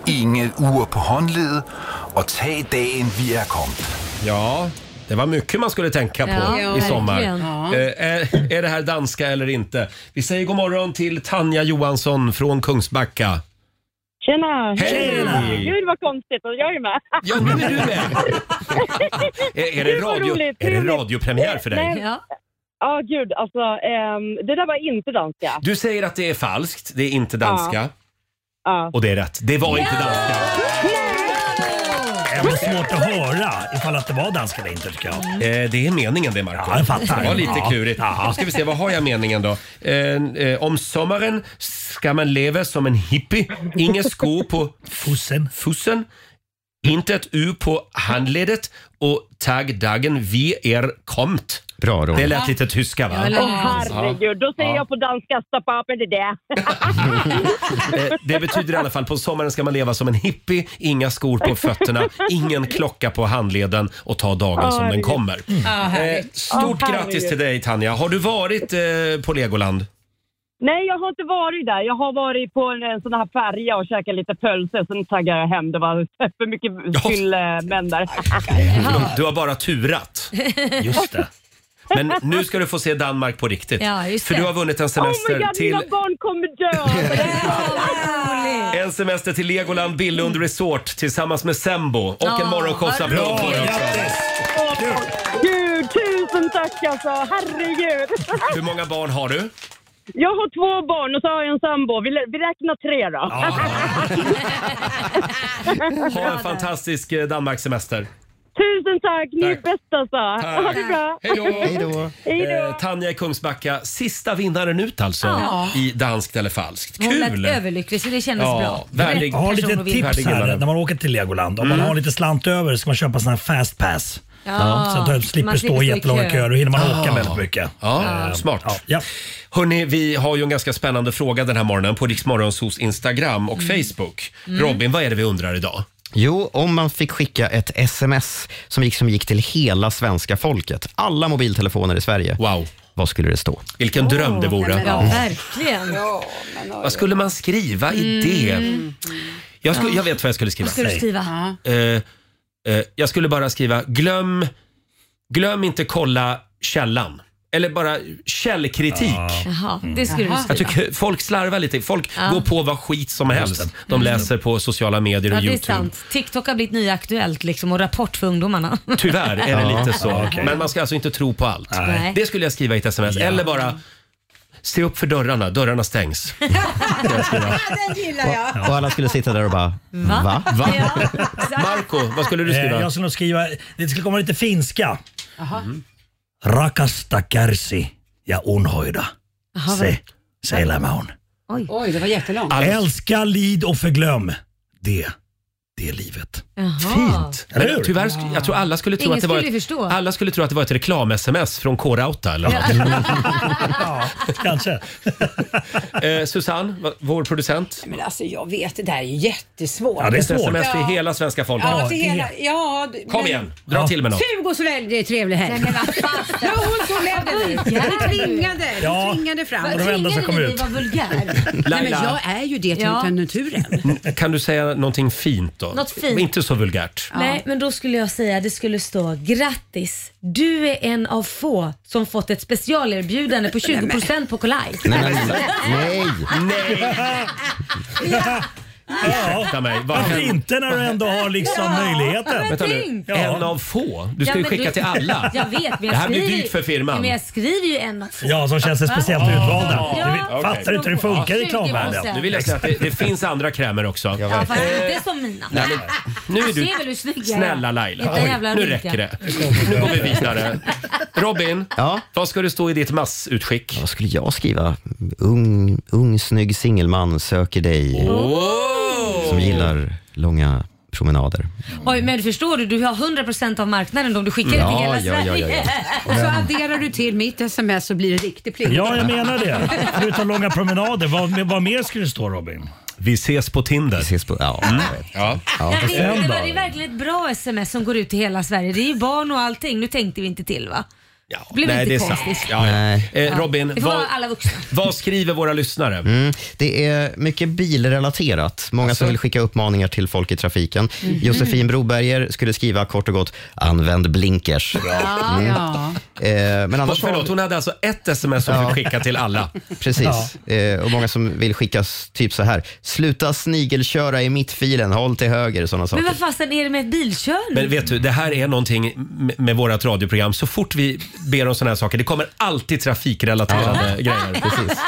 ingen ur på håndledet, og tag dagen vi er kommet. Ja, det var mycket man skulle tänka på Ja, i verkligen. sommar. Ja. Eh, är, är det här danska eller inte? Vi säger god morgon till Tanja Johansson från Kungsbacka. Tjena! Hej! Gud vad konstigt och jag är med. Ja, nu är du med. Är, är, det, Gud, vad radio, roligt, är det trevligt. radiopremiär för dig? Nej. Ja. gud alltså. ehm, det där var inte danska. Du säger att det är falskt, det är inte danska. Ja. Och det är rätt, det var inte danska. Det var svårt att höra ifall att det var danska eller inte tycker jag. Eh, det är meningen det, Marco. Ja, jag fattar. Det var lite Ja. klurigt. Ja. Nu ska vi se, vad har jag meningen då? Eh, eh, om sommaren ska man leva som en hippie. Inga skor på fussen. fussen. Inte ett U på handledet och tag dagen vi är kommt. Bra, Roger. Det lät lite tyska va? Åh herregud, då säger Ja. jag på danska stappa det där. Eh, Det betyder i alla fall på sommaren ska man leva som en hippie, inga skor på fötterna, ingen klocka på handleden och ta dagen Ja, som den herregud. kommer. Ja, härligt. Eh, Stort Ja, herregud. grattis till dig Tanja. Har du varit eh, på Legoland? Nej, jag har inte varit där. Jag har varit på en, en sån här färja och käkat lite pölse. Sen taggade jag hem. Det var för mycket fyllemän där. Du har bara turat. Just det. Men nu ska du få se Danmark på riktigt. Ja, just För det. du har vunnit en semester oh my God, till mina barn kommer dö! en semester till Legoland Billund Resort tillsammans med Sembo och en Ja, morgonshowsapplåd vad på dig också. Åh, Gud, tusen tack alltså! Herregud! Hur många barn har du? Jag har två barn och så har jag en sambo. Vi, lä- vi räknar tre då. Ha en fantastisk eh, Danmarkssemester. Tusen tack! Ni är bäst alltså! Ha det bra! Hej då! Eh, Tanja i Kungsbacka, sista vinnaren ut alltså Ja. i Danskt eller falskt. Hon Kul! lät överlycklig så det kändes Ja, bra. värdig- Jag har Person lite och vinna. tips här Värdegrundare. när man åker till Legoland. Om Mm. man har lite slant över ska man köpa sån här fast pass. Ja. Så att man slipper Man slipper stå stå i i jättelånga kö. köer. Då hinner man Ah. åka väldigt mycket. Ja, Eh, smart. Hörni, vi har ju en ganska spännande fråga den här morgonen på Riksmorgonsos Instagram och Facebook. Mm. Robin, vad är det vi undrar idag? Jo, om man fick skicka ett sms som gick, som gick till hela svenska folket, alla mobiltelefoner i Sverige. Wow. Vad skulle det stå? Vilken dröm det vore. Ja, verkligen. Vad skulle man skriva i Mm. det? Jag, skulle, jag vet vad jag skulle skriva. Vad ska du Säg. skriva? Eh, eh, jag skulle bara skriva glöm, glöm inte kolla källan. Eller bara källkritik. Ah. Jaha, Mm. det skulle du skriva. Jag tycker folk slarvar lite. Folk Ja. går på vad skit som helst. De Mm. läser på sociala medier och Ja, det är YouTube. sant. TikTok har blivit nya Aktuellt liksom, och Rapport för ungdomarna. Tyvärr är det Ja. lite så. Ah, Ja, okej. Men man ska alltså inte tro på allt. Nej. Det skulle jag skriva i ett sms. Eller bara, se upp för dörrarna. Dörrarna stängs. Den gillar jag. Och alla skulle sitta där och bara, Va? va? Va? Marco, vad skulle du Eh, skriva? Jag skulle nog skriva, det skulle komma lite finska. Mm. Rakasta kärsi ja unhoida. Jaha, Se, vad- se elämä on. Oj. Oj, det var jättelångt. Älska, lid och förglöm. Det, det är livet. Fint. Men Eller hur? tyvärr, sk- jag tror alla skulle tro, Ingen att det, var skulle ju ett, förstå. alla skulle tro att det var ett reklam-sms från K-Rauta eller något. Kanske. eh, Susanne, va- vår producent. Men alltså jag vet, det där är ju jättesvårt. Ja, det är ett sms till hela svenska folket. Ja, till hela, ja, Typ. d- Kom men- igen, dra till med något. Sug och svälj, det är trevlig helg. Nej men vad fasen. Hon som ledde Ja, nu. Du tvingade, Ja. du tvingade fram. Vad Och de enda som tvingade kom dig ut. var vulgär. Nej men Laila. jag är ju det till Ja. ja. naturen. N- Kan du säga någonting fint då? Något fint. Inte så vulgärt. Nej, men då skulle jag säga, det skulle stå grattis. Du är en av få som fått ett specialerbjudande på 20% på Kolaj. Nej, men- Nej! Nej! Ursäkta mig. vad Varför händer? inte när du ändå har liksom möjligheten? Vänta nu. Ja. En av få. Du ska Ja, ju men skicka till alla. Jag vet, men jag det här blir skriver ju- dyrt för firman. Men jag skriver ju en av få. Ja, som känns det speciellt utvalda. Ja. Du vet- Fattar du inte hur det funkar i reklamvärlden? Nu vill jag säga att det, det finns andra krämer också. Ja, fast inte som mina. Eh. Nej, men, nu ser är väl hur snygg du... jag är. Snälla Laila, Inte en jävla nu rynka. räcker det. Nu går vi vidare. Robin, vad ska det stå i ditt massutskick? Vad skulle jag skriva? Ung, ung snygg singelman söker dig. Som gillar långa promenader. Oj, men förstår du, du har 100% av marknaden om du skickar det Mm. Ja, till hela ja, ja, Sverige. ja, ja. Och så adderar du till mitt sms så blir det riktig plikt. Ja, jag menar det. Förutom långa promenader, vad, vad mer skulle det stå Robin? Vi ses på Tinder. Vi ses på, ja. Ja. Jag vet, inte, men det är verkligen ett bra sms som går ut till hela Sverige. Det är ju barn och allting. Nu tänkte vi inte till va? Ja, Blev Nej, inte det är sant. konstigt. Ja, ja. Ja. Eh, Robin, det får vad, vara alla vuxna. vad skriver våra lyssnare? Mm. Det är mycket bilrelaterat. Många som vill skicka uppmaningar till folk i trafiken. Josefin Broberger skulle skriva kort och gott, använd blinkers. Mm. Eh, men annars Förlåt, hon hade alltså ett sms som fick skicka till alla. Precis. Eh, och många som vill skickas typ så här. Sluta snigelköra i mittfilen, håll till höger. Sådana Men saker. vad fasen är det med ett bilkörning? Men vet du, det här är någonting m- med vårt radioprogram. Så fort vi ber om sådana här saker, det kommer alltid trafikrelaterade grejer. Precis.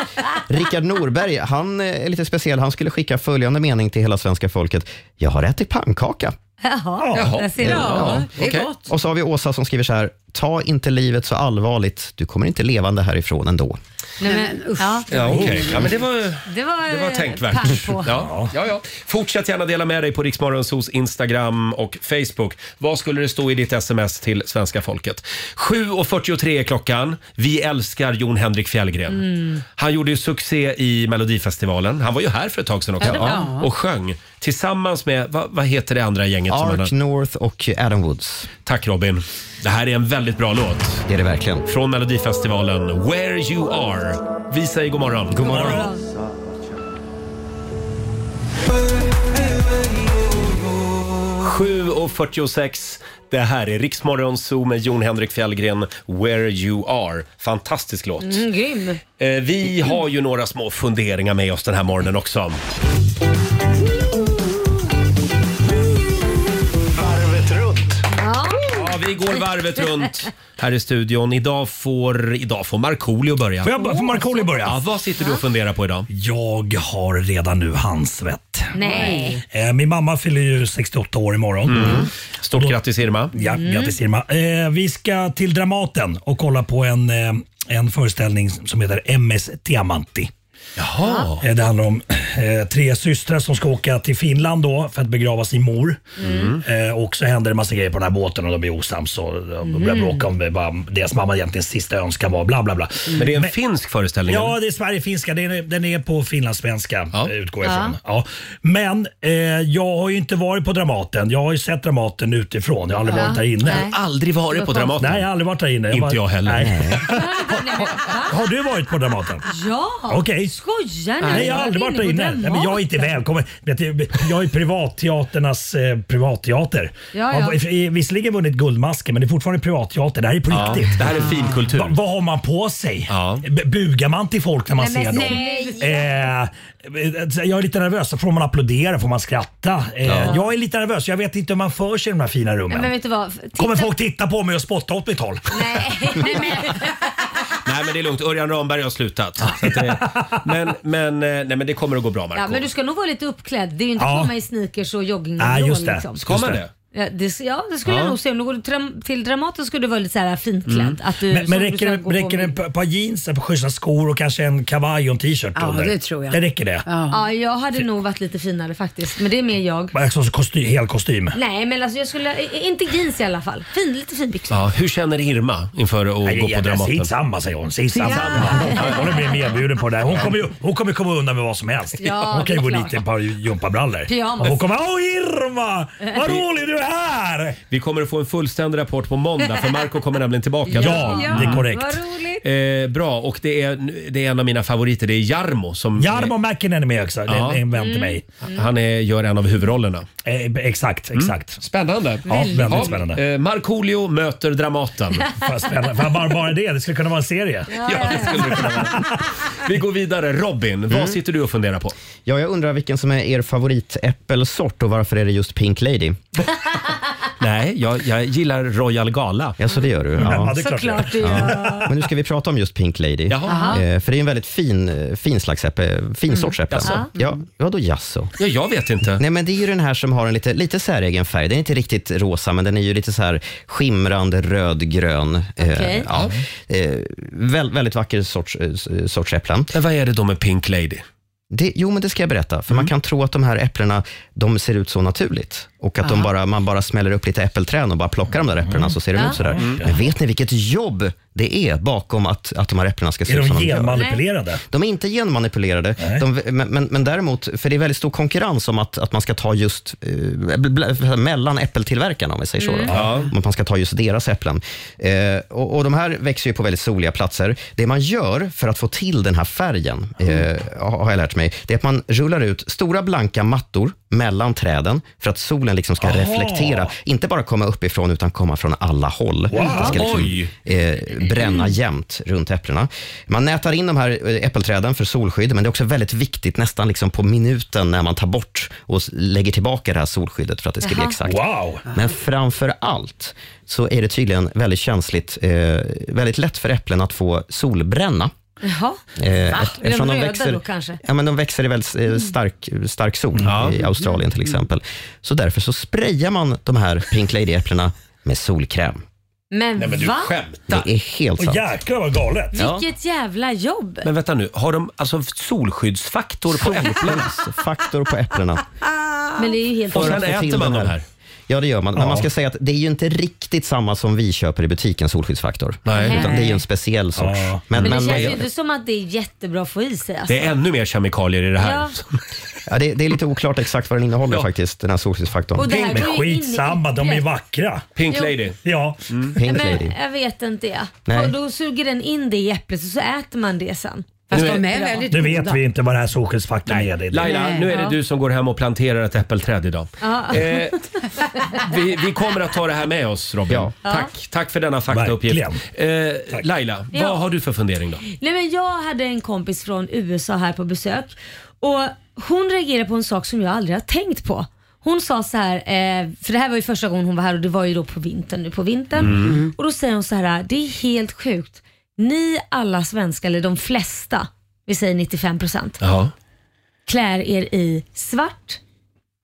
Rickard Norberg, han eh, är lite speciell. Han skulle skicka följande mening till hela svenska folket. Jag har ätit pannkaka. Jaha, där ser du. Okej. Och så har vi Åsa som skriver så här. Ta inte livet så allvarligt. Du kommer inte levande härifrån ändå. Nej, men, usch. Ja. Ja, okej. Ja, men det var, Det var, det var eh, tänkvärt. pang på. Ja, ja, ja. Fortsätt gärna dela med dig på Riksmorgonsos Instagram och Facebook. Vad skulle det stå i ditt sms till svenska folket? 7.43 är klockan. Vi älskar Jon Henrik Fjällgren. Mm. Han gjorde ju succé i Melodifestivalen. Han var ju här för ett tag sedan också. Ja, det var han. Och sjöng tillsammans med, vad, vad heter det andra gänget? som han Ark har- North och Adam Woods. Tack Robin. Det här är en väldigt bra låt. Det är det verkligen. Från Melodifestivalen, Where You Are. Vi säger god morgon. God morgon. Det här är Riksmorgon Zoo med Jon Henrik Fjällgren, Where You Are. Fantastisk låt. Mm, grym. Eh, Vi har ju några små funderingar med oss den här morgonen också. Varvet runt. Ja. Ja, vi går varvet runt här i studion. Idag får, idag får Markoolio börja. Får jag börja- får Markoolio börja? Ja, vad sitter du och funderar på idag? Jag har redan nu handsvett. Nej. Eh, Min mamma fyller ju 68 år imorgon. Mm. Stort grattis Irma. Ja, grattis Irma. Eh, vi ska till Dramaten och kolla på en, eh, en föreställning som heter MS Diamanti. Jaha. Eh, Det handlar om eh, tre systrar som ska åka till Finland då för att begrava sin mor. Mm. Eh, och så händer det massa grejer på den här båten och de blir osams och de börjar Mhm. bråka om vad deras mamma egentligen sista önskan var. Bla, bla, bla. Mm. Men det är en finsk föreställning, Ja, eller? det är Sverigefinska. Den är, den är på finlandssvenska, ja. utgår jag Ja. ifrån. Ja. Men eh, jag har ju inte varit på Dramaten. Jag har ju sett Dramaten utifrån. Jag har aldrig Ja. varit där inne. Nej. Du har aldrig varit på Dramaten? Nej, jag har aldrig varit där inne. Inte var- jag heller. Nej. har du varit på Dramaten? Ja, Okej. skojar ni? Nej, jag har aldrig varit där inne. Nej, men jag är inte välkommen. Vet du, Jag är privatteaternas eh, privatteater. Ja, ja. Har i- eh, visserligen vunnit Guldmasken, men det är fortfarande privatteater. Det här är på Ja, riktigt. det här är finkultur. Va, vad har man på sig? B- Bugar man till folk när man Nej, men ser dem? Eh, jag är lite nervös. Får man applådera? Får man skratta? Eh, Ja. Jag är lite nervös. Jag vet inte hur man för sig i de här fina rummen. Men vet du vad? Titta- Kommer folk titta på mig och spotta åt mitt håll? Nej men det är lugnt, Örjan Ramberg har slutat. Så att det, men, men, eh, nej, men det kommer att gå bra Marco. Ja, men du ska nog vara lite uppklädd. Det är ju inte Ja. komma i sneakers och jogging. Nej, just det. Liksom. Ska man det? Ja, det, ja, det skulle Ja. Mm. jag nog se. Om du går till- till Dramaten skulle du vara lite så här finklädd. Att du, men som men du räcker, ska det- gå på räcker det med- ett par- par jeans, ett par schyssta skor och kanske en kavaj och en t-shirt Ja, under? det tror jag. Det räcker det? Ja, jag hade nog varit lite finare faktiskt. Men det är mer jag. Bara Alltså kosty, hel kostym. Nej, men alltså jag skulle... i- Inte jeans i alla fall. Fin, lite fin byxor. Ja, hur känner Irma inför att Nej, gå på jag- Dramaten? sitt samma, säger hon. Sitt samma. Ja. Hon blir medbjuden på det här. Hon kommer, ju- hon kommer komma undan med vad som helst. Ja, hon kan ju det gå är dit klart. i ett par gympabrallor. Pyjamas. Hon kommer Åh Irma! Vad rolig du är! Vi kommer att få en fullständig rapport på måndag för Marco kommer nämligen tillbaka. Ja, det är korrekt. Vad roligt. Eh, bra, och det är, det är en av mina favoriter. Det är Jarmo som... Jarmo Mäkinen är med också. Det är en vän till mig. Eh, Han är, gör en av huvudrollerna. exakt, exakt. Spännande. Ja, väldigt Ja, spännande. Eh, Markoolio möter Dramaten. Vad spännande. Fan, bara, bara det, det skulle kunna vara en serie. Ja, det skulle det kunna vara. Vi går vidare. Robin, vad Mm. sitter du och funderar på? Ja, jag undrar vilken som är er favoritäppelsort och varför är det just Pink Lady? Nej, jag, gillar Royal Gala. Ja, så det gör du? Ja, det är klart Såklart du gör. Ja. Men nu ska vi prata om just Pink Lady. Jaha. Eh, För det är en väldigt fin, eh, fin slags äppel, fin Mm. sorts äppel. Jaså? Mm. Ja, vadå jaså? Ja, jag vet inte. Nej, men det är ju den här som har en lite, lite säregen färg. Den är inte riktigt rosa, men den är ju lite så här skimrande rödgrön. Eh, Okej. Mm. Ja. Eh, Väl, väldigt vacker sorts, eh, s- sorts äpplen. Men vad är det då med Pink Lady? Det, jo, men det ska jag berätta. Mm. För man kan tro att de här äpplena, de ser ut så naturligt. Och att de Ja. bara, man bara smäller upp lite äppelträn och bara plockar de där äpplena så ser de Ja. ut sådär. Mm. Men vet ni vilket jobb det är bakom att, att de här äpplena ska se Är ut de som de gör? genmanipulerade? De är inte genmanipulerade, de, men, men, men däremot, för det är väldigt stor konkurrens om att, att man ska ta just eh, bl- bl- mellan äppeltillverkarna, om vi säger så. Mm. Då. Ja. Om att man ska ta just deras äpplen. Eh, och, och de här växer ju på väldigt soliga platser. Det man gör för att få till den här färgen, Mm. eh, har jag lärt mig, det är att man rullar ut stora blanka mattor mellan träden för att solen liksom ska Aha. reflektera. Inte bara komma uppifrån, utan komma från alla håll. Wow. Den ska Oj. liksom, eh, bränna jämnt runt äpplena. Man nätar in de här eh, äppelträden för solskydd, men det är också väldigt viktigt nästan liksom på minuten när man tar bort och s- lägger tillbaka det här solskyddet för att det ska bli Jaha. exakt. Wow. Men framför allt så är det tydligen väldigt känsligt, eh, väldigt lätt för äpplen att få solbränna. Jaha. Eh, Va? eft- Är de eftersom de röda växer- då kanske? Mm. Ja, men de växer i väldigt eh, stark, stark sol i Australien till exempel. Så därför så sprayar man de här Pink Lady-äpplena med solkräm. Men, va? Det är helt sant. jäklar vad galet. Vilket jävla jobb. Men vänta nu, har de alltså solskyddsfaktor på äpplena? Solskyddsfaktor på äpplena. Men det är ju helt Och sen För att få till äter man den de här. Ja, det gör man. Men Ja. man ska säga att det är ju inte riktigt samma som vi köper i butiken, solskyddsfaktor. Nej. Utan det är ju en speciell sorts. Men, det känns ju inte som att det är jättebra att få i sig. Alltså. är ännu mer kemikalier i det här. Ja. Ja, det, det är lite oklart exakt vad den innehåller faktiskt, den här solskyddsfaktorn. Och det här Men går ju in i skitsamma, de är yttret. vackra. Pink Jo. lady. Ja. Pink men, lady. Jag vet inte jag. Nej. Och då suger den in det i äpplet och så äter man det sen. Nu är- Nu vet vi inte vad den här solskyddsfaktorn är. Det är det. Laila, nu är det Ja. du som går hem och planterar ett äppelträd idag. Ja. Eh, vi, vi kommer att ta det här med oss Robin. Ja. Tack, tack för denna faktauppgift. Eh, Laila, Ja. vad har du för fundering då? Nej, men jag hade en kompis från USA här på besök och hon reagerade på en sak som jag aldrig har tänkt på. Hon sa så här, eh, för det här var ju första gången hon var här och det var ju då på vintern nu på vintern. Mm. Och då säger hon så här, det är helt sjukt. Ni alla svenskar, eller de flesta, vi säger 95 procent, Ja. klär er i svart,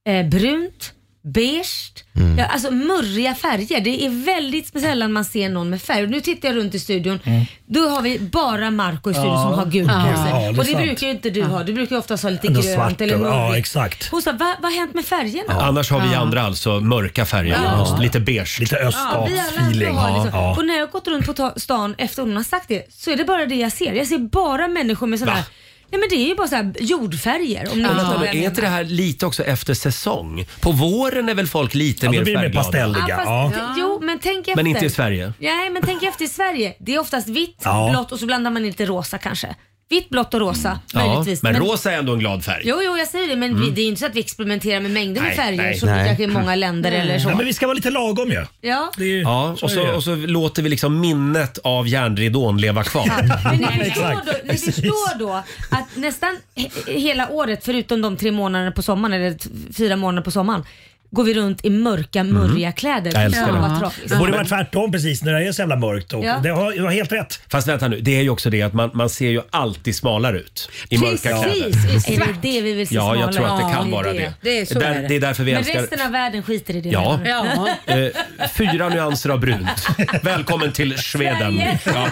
eh, brunt, beige, ja, alltså murriga färger. Det är väldigt sällan man ser någon med färg. Och Nu tittar jag runt i studion. Mm. Då har vi bara Marco i studion Ja. som har gult Ja, på det sig. är och det sant. brukar ju inte du ha. Du brukar ju oftast ha lite Ändå grönt svart eller och- murrigt. ja, exakt. Hon sa, "Va- vad har hänt med färgerna? Annars har vi andra alltså mörka färger, Ja. just lite beige. Lite vi alla har liksom. Och när jag har gått runt på ta- stan efter hon har sagt det så är det bara det jag ser. Jag ser bara människor med sådana Va? här Nej men det är ju bara så här jordfärger. Om ni Men förstår vänta, vad men jag är inte det här lite också efter säsong? På våren är väl folk lite Ja, då mer blir det mer färgglada? pastelliga, menar. Ja, fast, Jo men tänk efter. Men inte i Sverige. Nej men tänk efter i Sverige. Det är oftast vitt, Ja. Mm. blått och så blandar man in lite rosa kanske. Vitt, blått och rosa Ja, möjligtvis. men rosa är ändå en glad färg. Jo, jo, jag säger det, men vi, Mm. det är ju inte så att vi experimenterar med mängder med Nej, färger nej. som det Nej. kanske är i många länder eller så. Nej, men vi ska vara lite lagom ju. Ja. Ja, och så, och så låter vi liksom minnet av järnridån leva kvar. Men ni förstår, då, ni förstår då att nästan he- hela året förutom de tre månaderna på sommaren eller t- fyra månader på sommaren går vi runt i mörka Mm. mörriga kläder. Jag älskar Fan, det. vad tragiskt. Det borde vara tvärtom precis när det är så jävla mörkt. Och Ja. det har, du har helt rätt. Fast vänta nu, det är ju också det att man, man ser ju alltid smalare ut i mörka kläder. Är det det vi vill se Ja, jag tror att det smalare? kan Ja, vara är det. Där- det är därför vi Men älskar- resten av världen skiter i det. Ja. menar du? Eh, fyra nyanser av brunt. Välkommen till Sveden. Ja.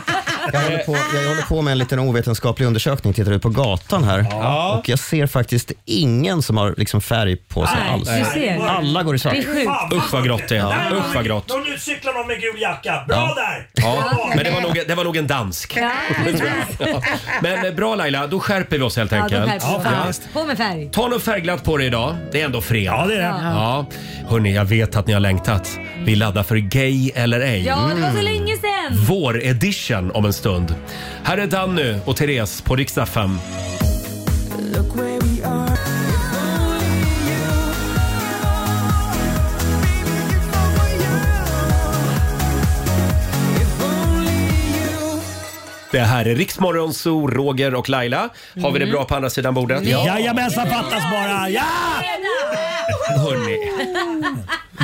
Jag håller, på, jag håller på med en liten ovetenskaplig undersökning, tittar ut på gatan här. Ja. Och jag ser faktiskt ingen som har liksom färg på sig Nej, alls. du ser. Alla går i svart. Det är sjukt. Usch vad grått det är. Ja. Usch vad grått. De nu cyklar någon med gul jacka. Bra där! Ja, men det var nog, det var nog en dansk. Ja. Men eh, bra Laila, då skärper vi oss helt Ja, de enkelt. skärper sig. Fan. På med färg. Ta något färgglatt på dig idag. Det är ändå fredag. Ja, det är det. Ja. Ja. Hörni, jag vet att ni har längtat. Vi laddar för Gay eller ej. Ja, det var så länge sedan. Vår-edition om en stund. Här är Danny och Therese på riksdag 5. Det här är Riksmorgon, Zoo, Roger och Laila. Har vi det bra på andra sidan bordet? Jajamensan, fattas bara! Ja! Hörni,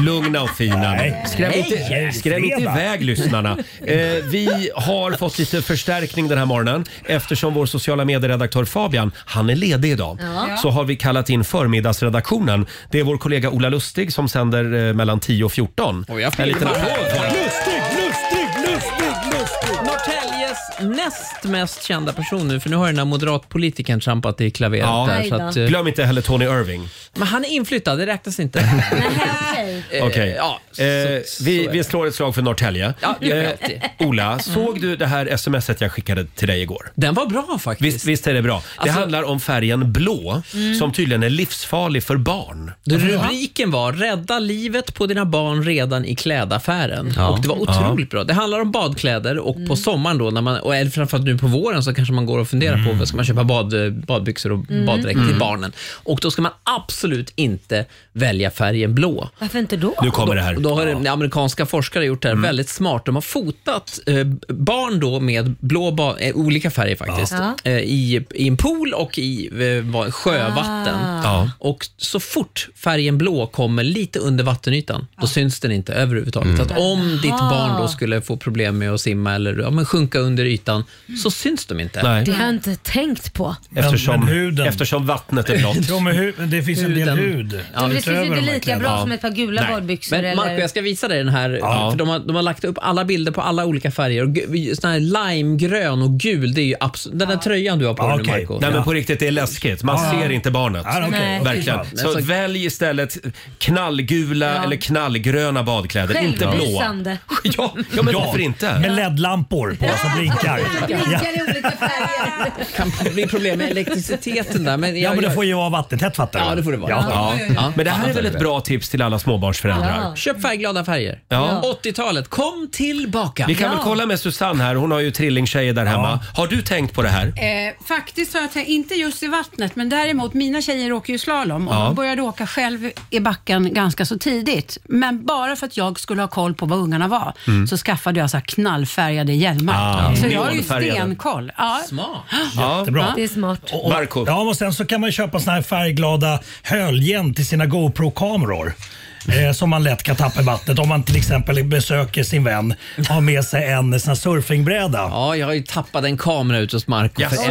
lugna och fina. Nej. Skräm Nej, inte, fredag. skräm inte iväg lyssnarna. Eh, vi har fått lite förstärkning den här morgonen eftersom vår sociala medieredaktör Fabian, han är ledig idag. Ja. Så har vi kallat in förmiddagsredaktionen. Det är vår kollega Ola Lustig som sänder eh, mellan 10 och 14. en liten applåd på honom. Lustig, lustig, lustig, lustig! Norrtäljes näst mest kända person nu, för nu har den här moderatpolitikern trampat i klaveret Ja. där. Så att, eh, Glöm inte heller Tony Irving. men han är inflyttad, det räknas inte. Okej. Eh, ja, eh, vi, vi slår ett slag för Norrtälje. Ja, det gör vi Eh, alltid. Ola, såg du det här smset jag skickade till dig igår? Den var bra faktiskt. Visst, visst är det bra? Det Alltså- handlar om färgen blå Mm. som tydligen är livsfarlig för barn. Du, rubriken var “Rädda livet på dina barn redan i klädaffären”. Ja. Och det var otroligt bra. Det handlar om badkläder och på sommaren då, när man, och eller framförallt nu på våren, så kanske man går och funderar Mm. på vad ska man köpa bad, badbyxor och Mm. baddräkt Mm. till barnen. Och då ska man absolut inte välja färgen blå. Varför inte då? Och då, och Då har det- amerikanska forskare gjort det här väldigt smart. De har fotat eh, barn då med blå ba- eh, olika färger faktiskt, Ja. eh, i, i en pool och i eh, va- sjövatten. Ah. Ja. Och så fort färgen blå kommer lite under vattenytan, då syns den inte överhuvudtaget. Så att om ditt Aha. barn då skulle få problem med att simma eller ja, men sjunka under ytan, så syns de inte. Det har jag inte tänkt på. Eftersom, Men- men huden- eftersom vattnet är blått. Jo, men hu- men det finns en del Huden. hud. Men det syns ju inte lika bra som ett par gula Nej. badbyxor. Men Marco, eller... jag ska visa dig den här. Ja. För de, har, de har lagt upp alla bilder på alla olika färger. Och gu- sån här limegrön och gul, det är ju absolut... Den där tröjan du har på dig nu, Marco. Nej men på riktigt, det är läskigt. Man Ja. ser inte barnet. Ja, okej. Nej. Verkligen. Men Så så- välj istället knallgula eller knallgröna badkläder, inte blå. Självlysande. Ja, ja, men varför inte? Med LED-lampor på som blinkar. Blinkar i olika färger. kan bli problem med elektriciteten där. Men jag, Ja, men det jag- får ju vara vattentätt fattar du. Ja, det får det vara. Ja. Men det här är Fattar väl du ett bra tips till alla småbarnsföräldrar? Ja. Köp färgglada färger. Ja. 80-talet, kom tillbaka. Vi kan väl kolla med Susanne här, hon har ju trillingtjejer där hemma. Har du tänkt på det här? Eh, faktiskt har jag tänkt, inte just i vattnet, men däremot mina tjejer åker ju slalom och Ja. de började åka själv i backen ganska så tidigt. Men bara för att jag skulle ha koll på vad ungarna var Mm. så skaffade jag så här knallfärgade hjälmar. Ah, så jag har ju neonfärgade. stenkoll. Ja. Smart. Jättebra. Det är smart. Och, och, Marco. Ja, och sen så kan man köpa såna här färgglada höljen till sina GoPro-kameror. eh, som man lätt kan tappa i vattnet om man till exempel besöker sin vän och har med sig en sån här surfingbräda. Ja, jag har ju tappat en kamera ute hos Marco för ett, för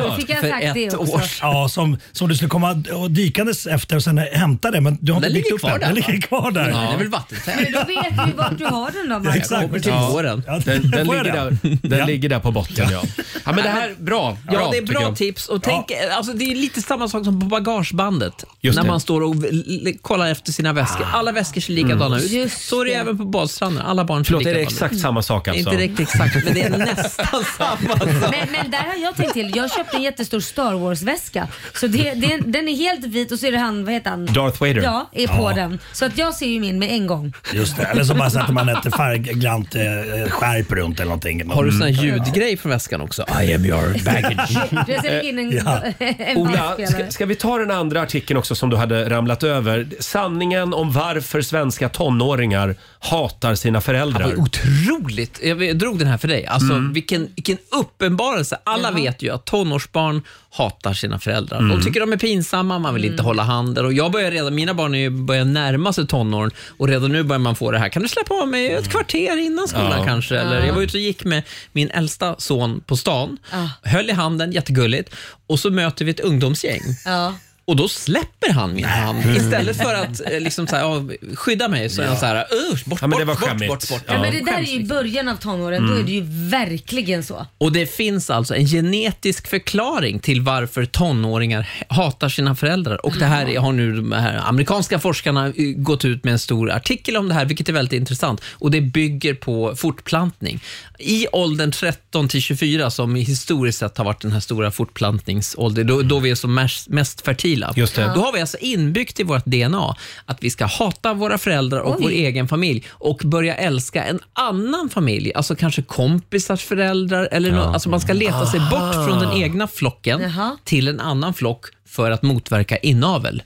ett år sedan. Ja, som, som du skulle komma och dykandes efter och sen hämta det men du har Den inte byggt ligger upp kvar den. där, Den va? ligger kvar där. Ja, den är väl vattentät. Men då vet vi vart du har den då Marco. Exakt. Kommer till våren. Den, den, Får ligger, jag där, den ligger där på botten ja. ja men det här, bra. Äh, Ja, det är tycker bra jag. tips. Och tänk, alltså, det är lite samma sak som på bagagebandet. Just när det. Ah. man står och l- l- kollar efter sina väskor. Alla väskor ser likadana Mm. ut. så är det även på badstranden. Alla barn ser Förlåt, är det likadana exakt ut. samma sak Mm. alltså? Inte riktigt exakt, men det är nästan samma sak. Men, men där har jag tänkt till. Jag köpte en jättestor Star Wars-väska. Så det, det, den är helt vit och så är det han, vad heter han? Darth Vader. Ja, är på Ja. den. Så att jag ser ju min med en gång. Just det. Eller så bara sätter man ett färgglant eh, skärp runt eller någonting. Har du sån här Mm. ljudgrej från väskan också? I am your baggage. Du har sett in en, Ja. en Ola, bandspelare. ska, ska vi ta den andra artikeln också som du hade ramlat över? Sanningen om varför svenska tonåringar hatar sina föräldrar. Det var otroligt. Jag jag drog den här för dig. Alltså, Mm. vilken, vilken uppenbarelse. Alla vet ju att tonårsbarn hatar sina föräldrar. Mm. De tycker de är pinsamma, man vill inte hålla handen. Och jag börjar redan, mina barn är ju- börjar närma sig tonåren och redan nu börjar man få det här. Kan du släppa av mig ett kvarter innan skolan Mm. Ja. kanske? Eller, jag Ja. var ute och gick med min äldsta son på stan, höll i handen, jättegulligt, och så möter vi ett ungdomsgäng. Ja. Och då släpper han min hand. Mm. Istället för att eh, liksom, så här, ja, skydda mig så är han så här, usch, bort, Ja, men det var bort, bort, skämmigt. bort, bort. Ja, men det där är ju i början av tonåren. Då Mm. är det ju verkligen så. Och det finns alltså en genetisk förklaring till varför tonåringar hatar sina föräldrar. Och det här har nu de här amerikanska forskarna eh, gått ut med en stor artikel om det här, vilket är väldigt intressant. Och det bygger på fortplantning. I åldern 13 till 24, som historiskt sett har varit den här stora fortplantningsåldern, då, då vi är som mest, mest fertila. Just det. Då har vi alltså inbyggt i vårt DNA att vi ska hata våra föräldrar och Oj. vår egen familj och börja älska en annan familj, alltså kanske kompisars föräldrar eller nå- alltså man ska leta sig Aha. bort från den egna flocken Jaha. till en annan flock för att motverka inavel.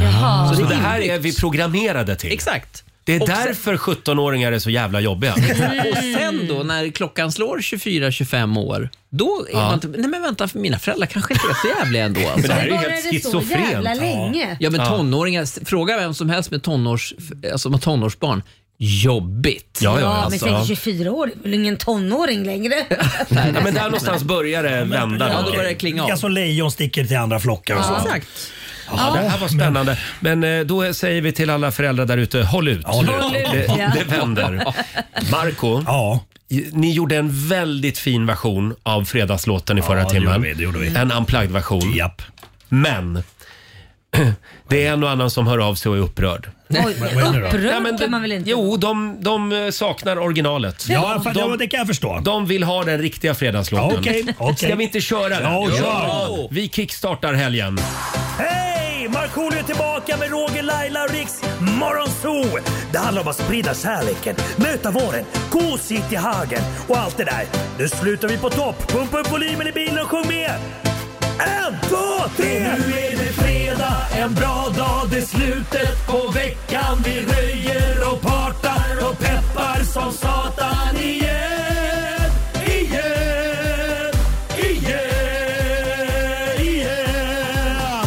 Jaha. Så det här är vi programmerade till? Exakt. Det är Och sen- därför 17-åringar är så jävla jobbiga. Och sen då när klockan slår 24-25 år, då är Ja. man inte, nej men vänta, för mina föräldrar kanske inte är så jävliga ändå. Alltså. Men det här är ju Men var helt det så schizofrent. jävla länge? Ja, men Ja. tonåringar, s- fråga vem som helst med, tonårs, alltså med tonårsbarn, jobbigt. men säkert 24 år är väl ingen tonåring längre? alltså. Ja, men där någonstans börjar det vända. Ja, då börjar det klinga av. Alltså lejon sticker till andra flockar och så. Ja, exakt. Ja, det här var spännande. Men eh, då säger vi till alla föräldrar där ute, håll ut. Håll ut. Det, det vänder. Marco, i- ni gjorde en väldigt fin version av fredagslåten i förra det timmen. gjorde vi, det gjorde vi. En unplugged version. Men det är en och annan som hör av sig och är upprörd. Oj, Vad- vad är det då? upprörd Ja, men kan man väl inte? Jo, de, de eh, saknar originalet. Ja, för- ja, det kan jag förstå. De vill ha den riktiga fredagslåten. Ja, okej, okej. Ska vi inte köra den? Ja, kör. Vi kickstartar helgen. Hej! Markoolio är tillbaka med Roger, Laila och Riks Morgonzoo! Det handlar om att sprida kärleken, möta våren, gosigt i hagen och allt det där. Nu slutar vi på topp! Pumpa upp volymen i bilen och sjung med! En, två, tre! Nu är det fredag, en bra dag, det är slutet på veckan. Vi röjer och partar och peppar som satan igen, igen, igen, igen.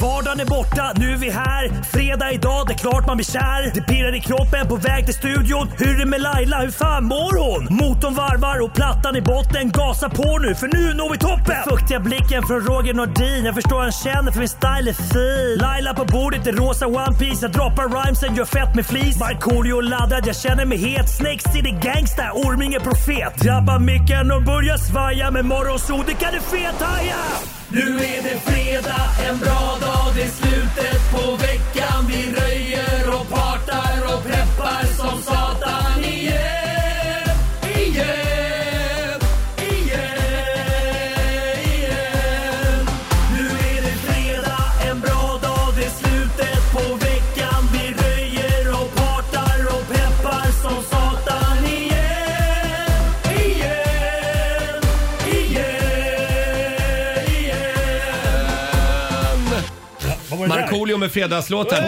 Vardagen är borta, nu är vi här. Fredag idag, det är klart man blir kär. Det pirrar i kroppen på väg till studion. Hur är det med Laila, hur fan mår hon? Motorn varvar och plattan i botten. Gasa på nu, för nu når vi toppen! Den fuktiga blicken från Roger Nordin. Jag förstår han känner för min style är fin. Laila på bordet i rosa One Piece Jag droppar rhymesen, gör fett med flis. Markoolio laddad, jag känner mig het. Snake City Gangsta, Orminge profet. Drabbar micken och börjar svaja. Med morgonsol, det kan du fethaja! Nu är det fredag, en bra dag, det är slutet på veckan Vi röjer och partar och peppar som satan igen Igen, igen, igen Nu är det fredag, en bra dag, det är slutet på veckan Vi röjer och partar och peppar som satan igen Igen, igen, igen var det där? Markoolio med fredagslåten.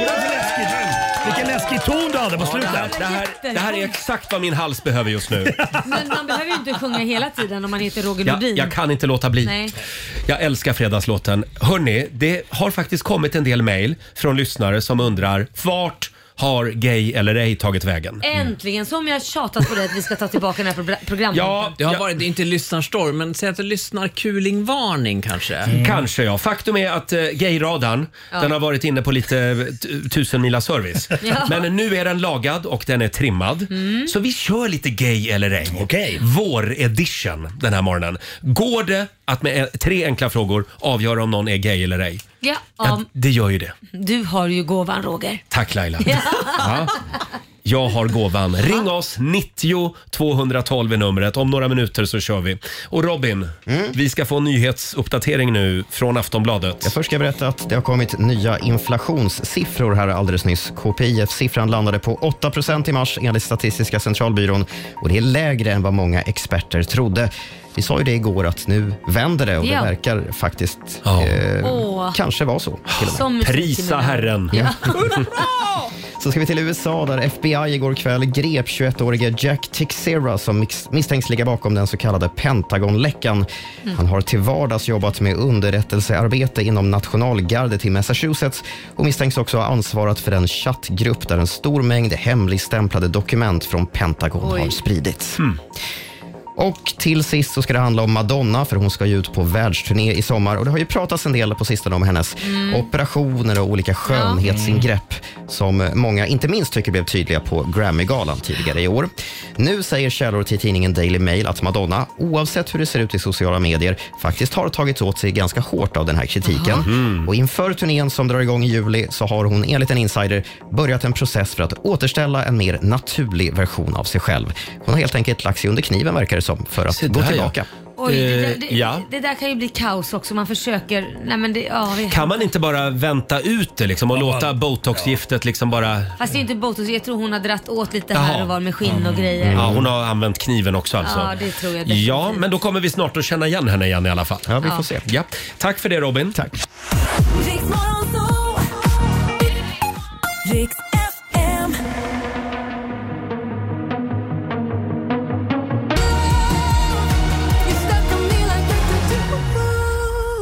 Vilken läskig ton du hade på slutet. Det här, det här är exakt vad min hals behöver just nu. Men man behöver ju inte sjunga hela tiden om man heter Roger Jag, Nordin. jag kan inte låta bli. Nej. Jag älskar fredagslåten. Hörni, det har faktiskt kommit en del mejl från lyssnare som undrar vart har Gay eller ej tagit vägen? Äntligen, som jag tjatat på det att vi ska ta tillbaka den här pro- programpunkten. det har varit, det är inte lyssnarstorm, men säg att det lyssnar kulingvarning kanske. Kanske ja. Faktum är att eh, gayradarn, Mm. Ja. den har varit inne på lite eh, tusenmila service. Ja. Mm. Men nu är den lagad och den är trimmad. Så vi kör lite gay eller ej. Okay. Vår-edition den här morgonen. Går det att med eh, tre enkla frågor avgöra om någon är gay eller ej? Ja, Ja, ja, det gör ju det. du har ju gåvan Roger. Tack Laila. Ja. Ja. Jag har gåvan. Ring oss, 90 212 är numret. Om några minuter så kör vi. Och Robin, vi ska få en nyhetsuppdatering nu från Aftonbladet. Jag först ska jag berätta att det har kommit nya inflationssiffror här alldeles nyss. KPIF-siffran landade på 8 i mars enligt Statistiska centralbyrån och det är lägre än vad många experter trodde. Vi sa ju det igår att nu vänder det och Ja. det verkar faktiskt eh, Åh. kanske vara så. till och med. Som musikkriminell. Ja. Så ska vi till USA där FBI igår kväll grep 21-årige Jack Teixeira som mix- misstänks ligga bakom den så kallade Pentagonläckan. Mm. Han har till vardags jobbat med underrättelsearbete inom nationalgardet i Massachusetts och misstänks också ha ansvarat för en chattgrupp där en stor mängd hemligstämplade dokument från Pentagon Oj. har spridits. Och till sist så ska det handla om Madonna, för hon ska ju ut på världsturné i sommar. Och Det har ju pratats en del på sistone om hennes Mm. operationer och olika skönhetsingrepp som många, inte minst, tycker blev tydliga på Grammygalan tidigare i år. Nu säger källor till tidningen Daily Mail att Madonna, oavsett hur det ser ut i sociala medier, faktiskt har tagit åt sig ganska hårt av den här kritiken. Och Inför turnén som drar igång i juli så har hon enligt en insider börjat en process för att återställa en mer naturlig version av sig själv. Hon har helt enkelt lagt sig under kniven verkar det som, för att gå där, ja. tillbaka. Oj, det, där, det, Eh, ja. det där kan ju bli kaos också. Man försöker... Nej, men det, ja, vi, Kan man inte bara vänta ut det liksom och låta botoxgiftet liksom bara... Fast det är ju inte botox. Jag tror hon har dratt åt lite Jaha. Mm. här och var med skinn och grejer. Ja, hon har använt kniven också alltså. Ja, det tror jag definitivt. Ja, men då kommer vi snart att känna igen henne igen i alla fall. Ja, vi får Ja. se. Ja. Tack för det Robin. Tack.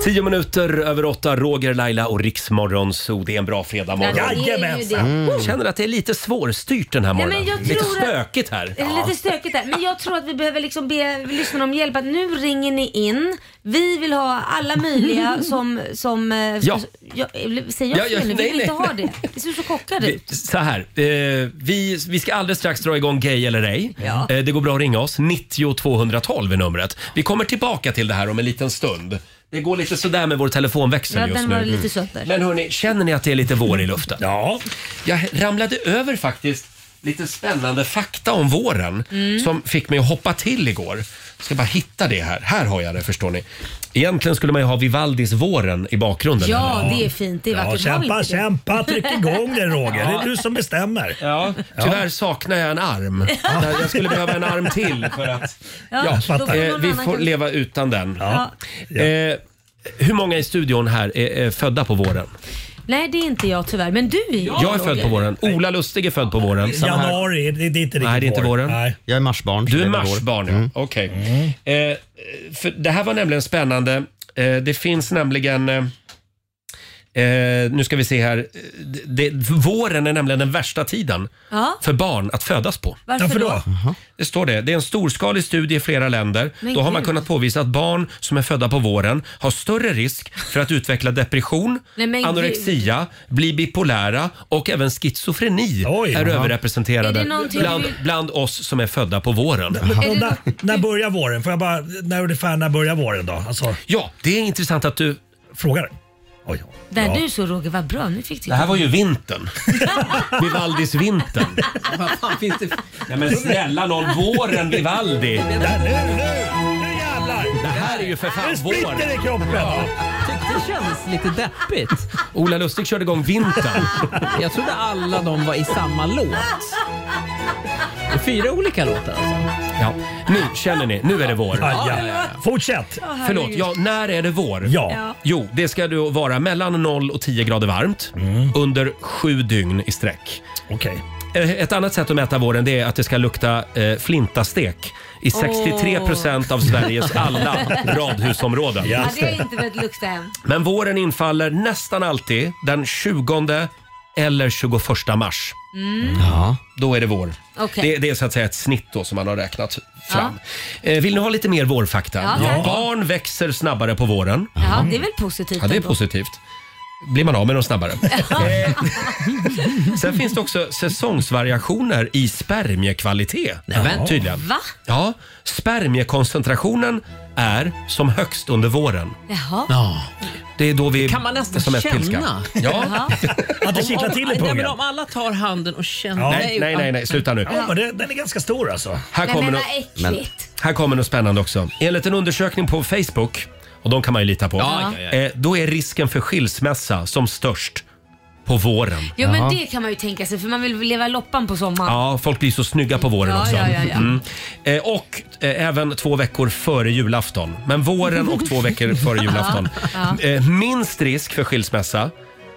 Tio minuter över åtta, Roger, Laila och Riksmorgon Zoo. Det är en bra fredagmorgon. Ja, det är ju Jajamensan. det. Mm. Känner att det är lite svårstyrt den här Nej, morgonen. men jag lite tror att- stökigt här. Det är lite stökigt där. Men jag tror att vi behöver liksom be lyssnarna om hjälp. Att nu ringer ni in. Vi vill ha alla möjliga som... som eh, Ja. Jag, säger jag Ja, ja, fel nu? Vi nej, vill inte nej, ha det. Vi ser så chockade Vi, ut. så här, eh, vi, vi ska alldeles strax dra igång Gay eller ej. Ja. Eh, det går bra att ringa oss. 90 212 är numret. Vi kommer tillbaka till det här om en liten stund. Det går lite sådär med vår telefonväxel Ja, just den nu. Mm. var lite sönder. Men hörni, känner ni att det är lite vår i luften? Ja. Jag ramlade över faktiskt lite spännande fakta om våren Mm. som fick mig att hoppa till igår. Jag ska bara hitta det här. Här har jag det förstår ni. Egentligen skulle man ju ha Vivaldis Våren i bakgrunden. Ja, det är fint. Det är vackert. Har vi inte det? som bestämmer. Ja, tyvärr saknar jag en arm. Jag skulle behöva en arm till för att... Ja, Ja, då får någon eh, vi annan får kanske- leva utan den. Eh, hur många i studion här är, är födda på våren? Nej, det är inte jag tyvärr. Men du är ju Jag är född Roger. på våren. Ola Lustig är född på våren. Samma här. Januari, det, det är inte riktigt Nej, det är inte vår. våren. Nej. Jag är marsbarn. Du är det är vår. marsbarn, ja. Okej. Eh, för det här var nämligen spännande. Eh, det finns nämligen... Eh, eh, nu ska vi se här. Det, det, våren är nämligen den värsta tiden Ja. för barn att födas på. Varför Varför då? då? Det står det. Det är en storskalig studie i flera länder. Men Då har man gud. kunnat påvisa att barn som är födda på våren har större risk för att utveckla depression, Nej, men gud. anorexia, bli bipolära och även schizofreni är Jaha. överrepresenterade Är det någonting bland, du- bland oss som är födda på våren. Och när, när börjar våren? Får jag bara, när ungefär när börjar våren då? Alltså, Ja, det är intressant att du frågar. Där Ja. du så Roger, vad bra. Nu fick du Det här var ju vintern. Vivaldis vintern. Nej men snälla någon, våren Vivaldi. Det här är ju för fan vår. Ja. Tyckte det kändes lite deppigt. Ola Lustig körde igång vintern. Jag trodde alla de var i samma låt. Det är fyra olika låtar alltså. Ja. Nu känner ni, nu är det vår. Ja, ja, ja. Fortsätt! Förlåt, ja, när är det vår? Ja. Jo, det ska då vara mellan 0 och 10 grader varmt under sju dygn i sträck. Eh, Okej. Ett annat sätt att mäta våren det är att det ska lukta eh, flintastek i 63 procent av Sveriges alla radhusområden. Ja, det är inte vet lukta än. Men våren infaller nästan alltid den 20 eller 21 mars. Mm. Ja. Då är det vår. Okej. Det, det är så att säga ett snitt då som man har räknat fram. Eh, Vill ni ha lite mer vårfakta? Ja, tack. Barn växer snabbare på våren. Jaha, det är väl positivt Ja, det är ändå. positivt. Blir man av med dem snabbare. Eh, Sen finns det också säsongsvariationer i spermiekvalitet. Nämen. Tydligen. Va? Ja, spermiekoncentrationen är som högst under våren. Jaha. Det är då vi kan man nästan är som mest känna. pilska. Ja. Att det Om- kittlar om- till i nej, men pungen. Om alla tar handen och känner... Nej, nej, nej, nej, sluta nu. Ja, men det, den är ganska stor alltså. Här kommer, något, här kommer något spännande också. Enligt en undersökning på Facebook, och de kan man ju lita på, Ja, ja, Eh, då är risken för skilsmässa som störst på våren. Jo men det kan man ju tänka sig för man vill leva loppan på sommaren. Ja, folk blir så snygga på våren Ja, också. ja, ja, ja. Mm. Eh, och eh, även två veckor före julafton. Men våren och två veckor före julafton. Ja, Eh, minst risk för skilsmässa,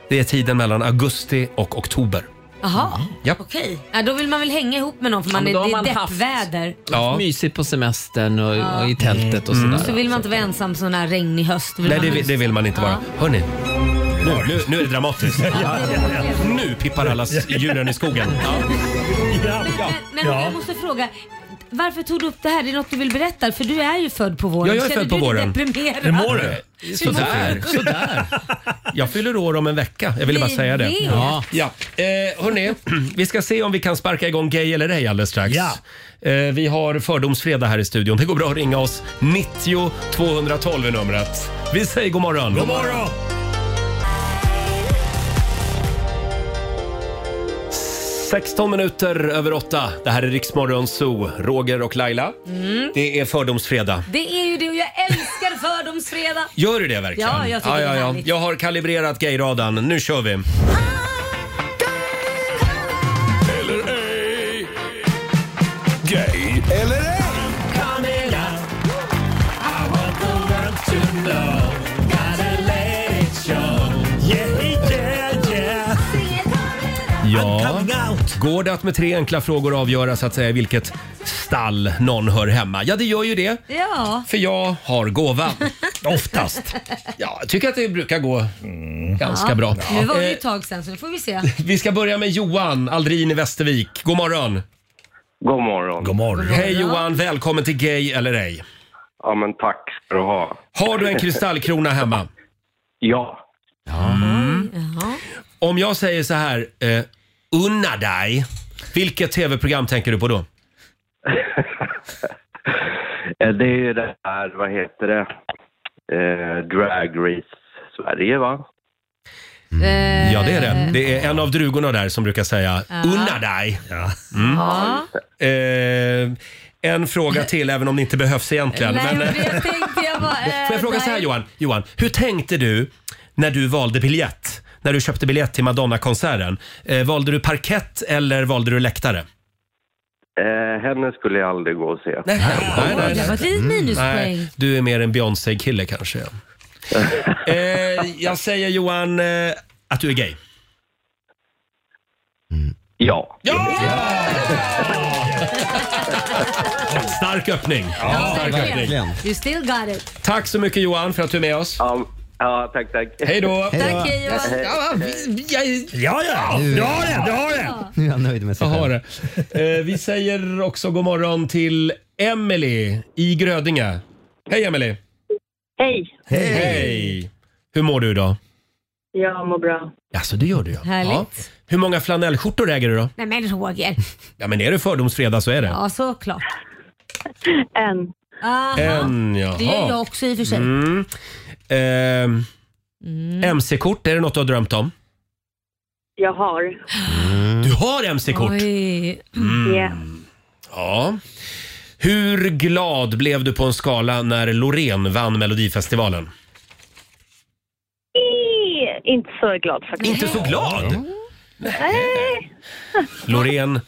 det är tiden mellan augusti och oktober. Jaha, Ja. okej. Ja, då vill man väl hänga ihop med någon för man men är, då har det är man haft- deppväder. Ja. Mysigt på semestern och, Ja. och i tältet och sådär. Och så vill man inte vara ensam sån här regnig höst. Vill Nej, man det, ha- vi- det vill man inte vara. Hörni, nu, nu, nu är det dramatiskt. Nu pippar alla s- djuren i skogen. Ja. Men hörni, jag måste fråga. Varför tog du upp det här? Det är något du vill berätta? För du är ju född på våren. Ja, jag är Känner född på du våren. dig deprimerad? Hur mår du? Hur Sådär, mår du? sådär. Jag fyller år om en vecka. Jag ville bara Vi säga det. vet. Ja. Ja. Eh, hörni, vi ska se om vi kan sparka igång Gay eller ej alldeles strax. Eh, vi har Fördomsfredag här i studion. Det går bra att ringa oss. 90 212 är numret. Vi säger god morgon. God morgon! morgon. 16 minuter över åtta. Det här är Riksmorgon Zoo. Roger och Laila. Mm. Det är Fördomsfredag. Det är ju det och jag älskar fördomsfredag. Gör du det verkligen? Ja, jag tycker det är härligt. Jag har kalibrerat gayradan. Nu kör vi. Gay eller ej? Ja. Går det att med tre enkla frågor avgöra så att säga i vilket stall någon hör hemma? Ja, det gör ju det. Ja. För jag har gåva. Oftast. Ja, jag tycker att det brukar gå ganska ja. bra. Nu var det ju Eh, ett tag sen så nu får vi se. vi ska börja med Johan Aldrin i Västervik. God morgon. God morgon. God morgon. Hej Johan, välkommen till Gay eller ej. Ja, men tack ska du ha. Har du en kristallkrona hemma? Ja. Mm. Om jag säger så här, eh, unna dig. Vilket tv-program tänker du på då? Eh, Det är ju det här, vad heter det, eh, Drag Race Sverige va? Ja, det är det. Det är en av drugorna där som brukar säga Ja. unna dig. Mm. Eh, en fråga till, även om det inte behövs egentligen. Nej, Men, eh, men det tänkte jag bara. får jag fråga så här nej. Johan? Johan, hur tänkte du när du valde biljett? När du köpte biljett till Madonna-konserten. Eh, valde du parkett eller valde du läktare? Eh, henne skulle jag aldrig gå och se. Nej, nej, nej. Det var ett litet minuspoäng. Mm. Nej, du är mer en Beyoncé-kille kanske. eh, jag säger Johan eh, att du är gay. Ja. Stark öppning. Ja, Stark verkligen. You still got it. Tack så mycket Johan för att du är med oss. Ja, tack, tack. Hej då. Tack, hej Johan. Ja, ja. Nu- Du har det, du har det. Nu är jag nöjd med sig Jag har själv. det. Eh, vi säger också god morgon till Emily i Grödinge. Hej Emily. Hej, Hej. Hej. Hur mår du idag? jag mår bra. Alltså det gör du ja. Härligt. ja. Hur många flanellskjortor äger du då? Nej men Roger. Ja men är det fördomsfredag så är det. Ja såklart. En. Aha. En jaha. Det gör jag också i och för sig. Eh, Mm. Ehm, Mm. MC-kort, är det något du har drömt om? Jag har. Mm. Du har MC-kort? Mm. Oj. Mm. Ja. Ja. Hur glad blev du på en skala när Loreen vann Melodifestivalen? I- Inte så glad faktiskt. Inte så glad? Nej. Loreen,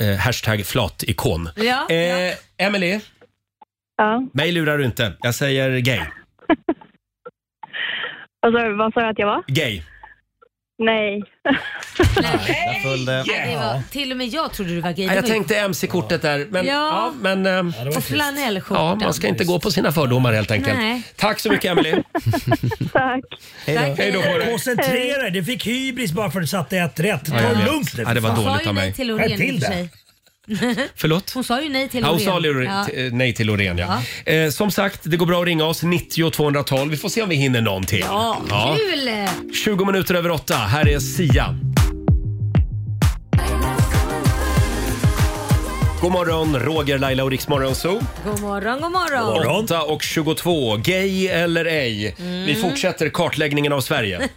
eh, hashtag flatikon. Ja, eh, Emily, Ja. mig lurar du inte. Jag säger gay. Vad sa du- vad sa du att jag var? Gay. Nej. Där föll det. Nej, det var, till och med jag trodde du var gay. Nej, Jag tänkte mc-kortet där. Men, Ja. ja. men, ehm, Och flanellskjortan. ja, man ska inte gå på sina fördomar helt enkelt. Nej. Tack så mycket Emily. Tack. Hej då på dig. Koncentrera dig, du fick hybris bara för att du satte ett rätt. Ta Ja, jag det vet. lugnt nu. Ja, det var för fan. dåligt. Hon sa ju av mig. nej till Skärp Loreen till i och för dig. sig. Förlåt? Hon sa ju nej till Ja, Loreen. hon sa Lore- Ja. t- nej till Loreen ja. Eh, som sagt, det går bra att ringa oss. 90 212. Vi får se om vi hinner någon till. Ja, Ja. kul! 20 minuter över åtta. Här är Sia. God morgon, Roger, Laila och Riksmorgon Zoo. God morgon, god morgon. 8 och 22, gay eller ej. Vi Mm. fortsätter kartläggningen av Sverige.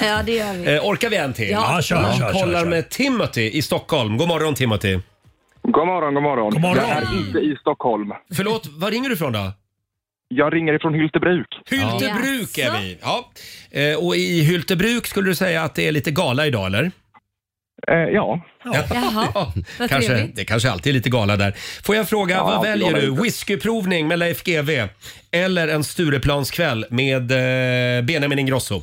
ja, det gör vi. Eh, orkar vi en till? Ja. Ja, kör, kör, Vi kör, kollar med Timothy i Stockholm. God morgon Timothy. God morgon, god morgon. God morgon. Jag är inte i Stockholm. Förlåt, var ringer du ifrån då? Jag ringer ifrån Hyltebruk. Hyltebruk är vi. Ja. Eh, och i Hyltebruk skulle du säga att det är lite gala idag eller? Eh, ja. Jaha, vad Kanske, trevligt. det kanske alltid är lite gala där. Får jag fråga, Ja, vad alltid väljer gala du? ute. Whiskyprovning med Leif GW eller en Stureplanskväll med eh, Benjamin Ingrosso?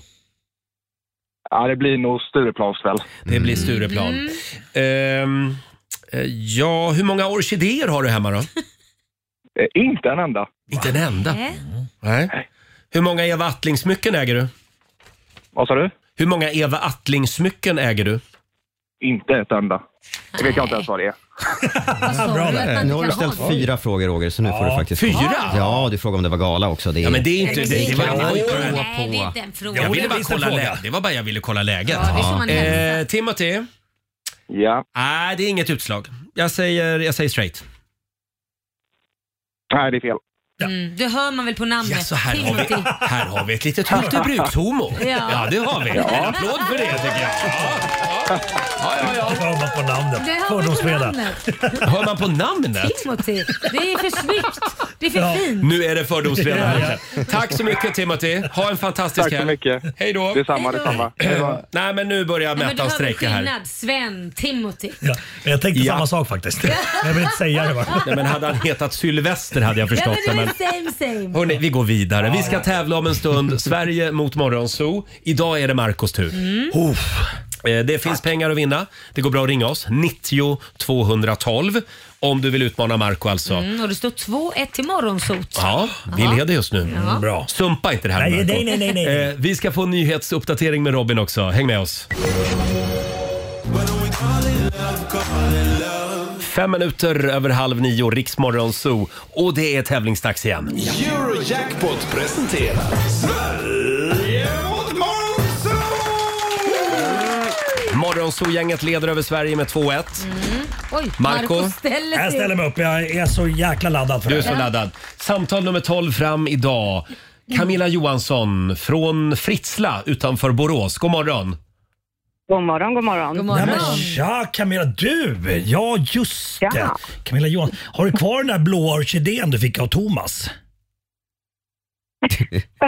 ja, det blir nog Stureplanskväll. Det blir Stureplan. Ehm, eh, ja, hur många orkidéer har du hemma då? Eh, inte en enda. Inte en enda? Nej. Nej. Hur många Eva Attling-smycken äger du? Vad sa du? Hur många Eva Attling-smycken äger du? Inte ett enda. Det vet jag inte ens vad det är. Bra där. Eh, Nu har du ställt fyra frågor Roger, så nu får du faktiskt... Fyra? Ja, du frågade om det var gala också. Det är... Ja, men det är inte... Det, det var kan man ju inte prova Nej, det är inte en fråga. Jag ville Det är bara visst en kolla fråga. läget. Det var bara jag ville kolla läget. Ja, det är som man hälsar. eh, Timothy? Ja. Nej, det är inget utslag. Jag säger, jag säger straight. Nej, det är fel. Mm, det hör man väl på namnet? Ja, så här har vi, Timothy. här har vi ett litet Hyltebrukshomo. Ja. ja, det har vi. En applåd för det tycker jag. Ja, ja, ja. Det hör man på Det namnet. hör man på Fördomsfredag. namnet. Hör man på namnet? Timothy. Det är för snyggt. Det är för fint. Nu är det fördomsfredag. Tack så mycket Timothy. Ha en fantastisk Tack så mycket. Hej då. Eh, Detsamma, detsamma. Hej då. Nej, men nu börjar Nej, men du Mätan hör väl strejka här. skillnad. Sven, Timothy. Ja, men jag tänkte samma sak faktiskt. Men jag vill inte säga det bara. Nej, men hade han hetat Sylvester hade jag förstått ja, det. men Men... det är same same. Hörrni, vi går vidare. Vi ska tävla om en stund. Sverige mot Morgonzoo. Idag är det Marcos tur. Mm. Uff. Eh, Det finns pengar att vinna. Det går bra att ringa oss. 90 212 om du vill utmana Marco alltså. Mm, och det står 2-1 till morgonsot. Ja, vi Ja. leder just nu. Ja. Bra. Sumpa inte det här Nej, Marco. nej, nej, nej, nej. Eh, Vi ska få en nyhetsuppdatering med Robin också. Häng med oss. Fem minuter över halv nio, Riksmorgon Zoo. Och det är tävlingsdags igen. Eurojackpot presenterar Sverige mot Monzo! Morgonzoo-gänget leder över Sverige med 2-1. Oj, Marco? Marco ställer sig. Jag ställer mig upp. Jag är så jäkla laddad för Du det är så här. laddad. Samtal nummer 12 fram idag. Camilla Johansson från Fritsla utanför Borås. God morgon. God morgon, god morgon. God Nej, morgon. men tja Camilla, du! Ja, just det. Ja. Camilla Johan, har du kvar den där blåa orkidén du fick av Thomas?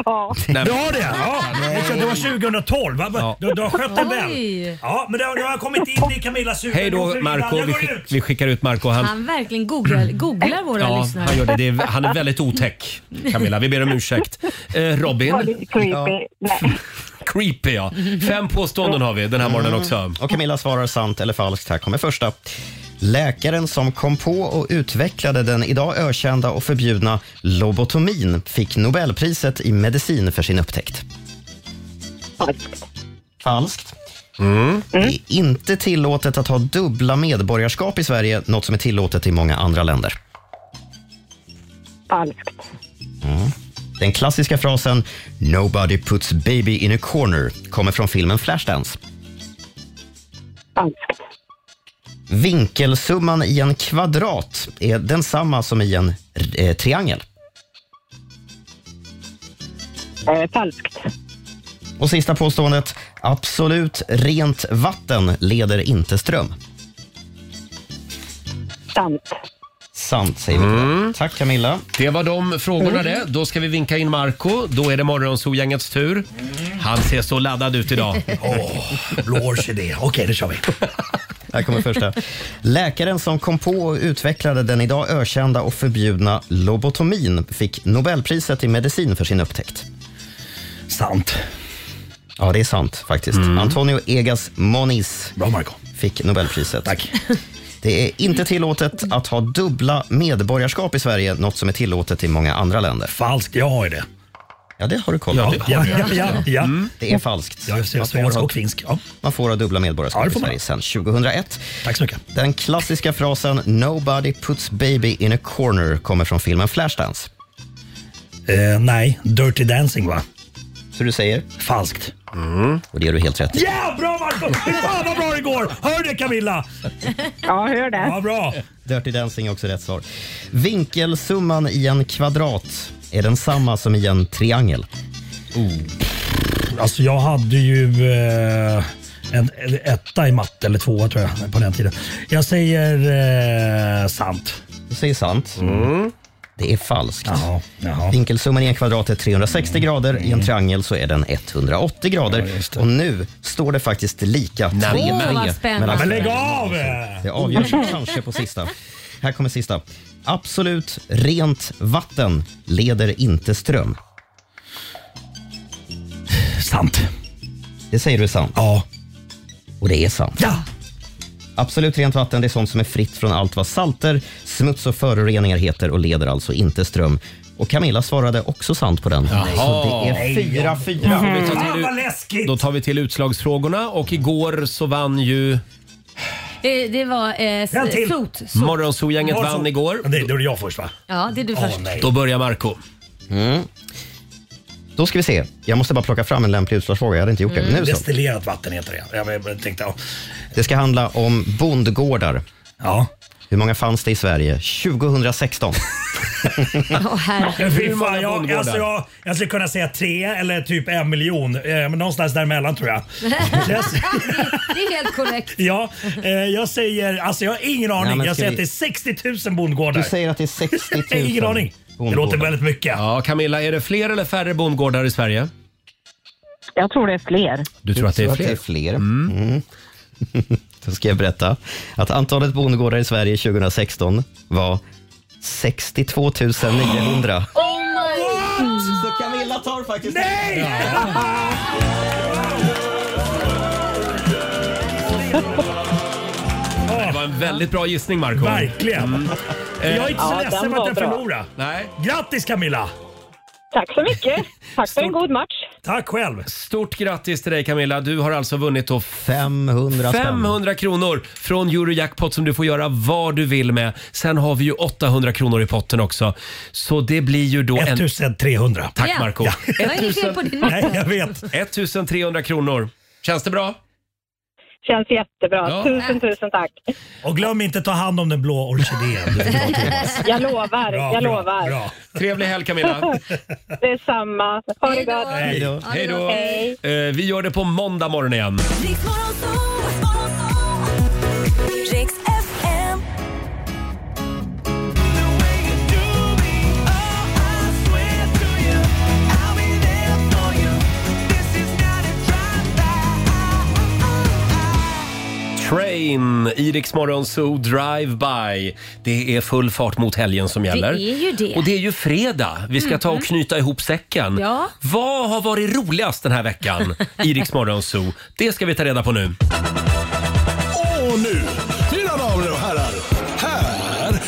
Ja. Nej, Du har det? Ja. Det var 2012. va? Ja. Du, du har skött den väl. Oj. Ja, men det har- nu har jag kommit in i Camillas huvud. Hej då Jag går Marco. vidare. Vi, Jag går skick, ut. vi skickar ut Marco. Han, Han verkligen googlar, googlar våra Mm. ja, lyssnare. han, gör det. Det är, han är väldigt otäck Camilla. Vi ber om ursäkt. Eh, Robin. Var lite creepy. Nej. Creepy ja. Fem påståenden har vi den här morgonen också. Och Camilla svarar sant eller falskt. Här kommer första. Läkaren som kom på och utvecklade den idag ökända och förbjudna lobotomin fick Nobelpriset i medicin för sin upptäckt. Falskt. Det är inte tillåtet att ha dubbla medborgarskap i Sverige, något som är tillåtet i många andra länder. Falskt. Den klassiska frasen “Nobody puts baby in a corner” kommer från filmen Flashdance. Falskt. Vinkelsumman i en kvadrat är densamma som i en eh, triangel. Eh, falskt. Och sista påståendet. Absolut rent vatten leder inte ström. Sant. Sant, säger vi. till det. Tack Camilla. Det var de frågorna det. Då ska vi vinka in Marco. Då är det Morgonzoo-gängets tur. Han ser så laddad ut idag. Blå orkidé. Okej, det kör vi. Här kommer första. Läkaren som kom på och utvecklade den idag ökända och förbjudna lobotomin fick Nobelpriset i medicin för sin upptäckt. Sant. Ja, Ja, det är sant faktiskt. Antonio Egas Moniz fick Nobelpriset. Tack. Det är inte tillåtet att ha dubbla medborgarskap i Sverige, något som är tillåtet i många andra länder. Falskt, jag har ju det. Ja, det har du koll Ja, på. det har jag. Ja, ja, ja. Mm. Det är falskt. Ja, just det, jag är Man får svensk ha- och finsk, Man får ha dubbla medborgarskap Ja, det i får man. Sverige sedan 2001. Tack så mycket. Den klassiska frasen “Nobody puts baby in a corner” kommer från filmen Flashdance. Eh, nej, Dirty Dancing va? Så du säger? Falskt. Och det gör du helt rätt i. Ja, bra Marco! Fy fan vad bra det går! Hör du det Camilla? Ja, hör det. Ja, bra. Dirty Dancing är också rätt svar. Vinkelsumman i en kvadrat är densamma som i en triangel. Alltså jag hade ju eh, en en etta i matte, eller tvåa tror jag, på den tiden. Jag säger eh, sant. Du säger sant. Mm. Det är falskt. Vinkelsumman i en kvadrat är 360 grader. Mm. I en triangel så är den 180 grader. och nu står det faktiskt lika. 3-3 Åh, vad mellan spännande. Men lägg Sverige och av! Norge. Det avgörs kanske på sista. Här kommer sista. Absolut rent vatten leder inte ström. Sant. Det säger du är sant? Ja. Och det är sant? Ja! Absolut rent vatten det är sånt som är fritt från allt vad salter, smuts och föroreningar heter och leder alltså inte ström. Och Camilla svarade också sant på den. Så det är fyra, fyra. Då tar vi till- Fan, vad läskigt! Då tar vi till utslagsfrågorna och igår så vann ju Det, det var eh, s- En till. sot. sot. Morgonzoo-gänget Morgonzoo. vann igår. Det, då är det jag först va? Ja, det är du först. Då börjar Marco Mm. Då ska vi se. Jag måste bara plocka fram en lämplig utslagsfråga. Jag hade inte gjort det. Mm, Men Nu så. Destillerat vatten heter det. Jag, jag, jag tänkte, ja. Det ska handla om bondgårdar. Ja. Hur många fanns det i Sverige 2016? Åh herregud. Fy fan, jag, bondgårdar? alltså jag, jag skulle kunna säga tre eller typ en miljon. Eh, men någonstans däremellan tror jag. jag Det är helt korrekt. ja, eh, jag säger, alltså jag har ingen aning. men jag ska säger vi- att det är 60 000 bondgårdar. Du säger att det är 60 000 ingen aning. Det låter väldigt mycket. Ja, Camilla, är det fler eller färre bondgårdar i Sverige? Jag tror det är fler. Du tror att det är fler? Mm. Då ska jag berätta att antalet bondgårdar i Sverige 2016 var 62 900. Oh my God! Så Camilla tar faktiskt... Nej! Det var en väldigt bra gissning, Marco Verkligen. Eh, Jag är inte så Ja, ledsen den för att var jag bra. förlorade. Nej. Grattis Camilla! Tack så mycket. Tack för en god match. Tack själv. Stort grattis till dig Camilla. Du har alltså vunnit då 500 spänn. 500 kronor från Eurojackpot som du får göra vad du vill med. Sen har vi ju 800 kronor i potten också. Så det blir ju då... 1300. En... Tack Ja. Marco Ja. Det var inget fel på din matte. Nej, jag vet. 1300 kronor. Känns det bra? Känns jättebra. Ja. Tusen, tusen tack. Och glöm inte att ta hand om den blå orkidén. Du får ta till oss. Jag lovar. Bra, jag bra, lovar. bra. Trevlig helg Camilla. Detsamma. Ha det gott. Hej då. Hej. Eh, Vi gör det på måndag morgon igen. Riks FM. Train, Iriks Morgonzoo, Drive-By. Det är full fart mot helgen som gäller. Det är ju det. Mhm. Och det är ju fredag. Vi ska ta och knyta ihop säcken. Ja. Vad har varit roligast den här veckan i Riks Morgonzoo? Det ska vi ta reda på nu. Och nu, mina damer och herrar, här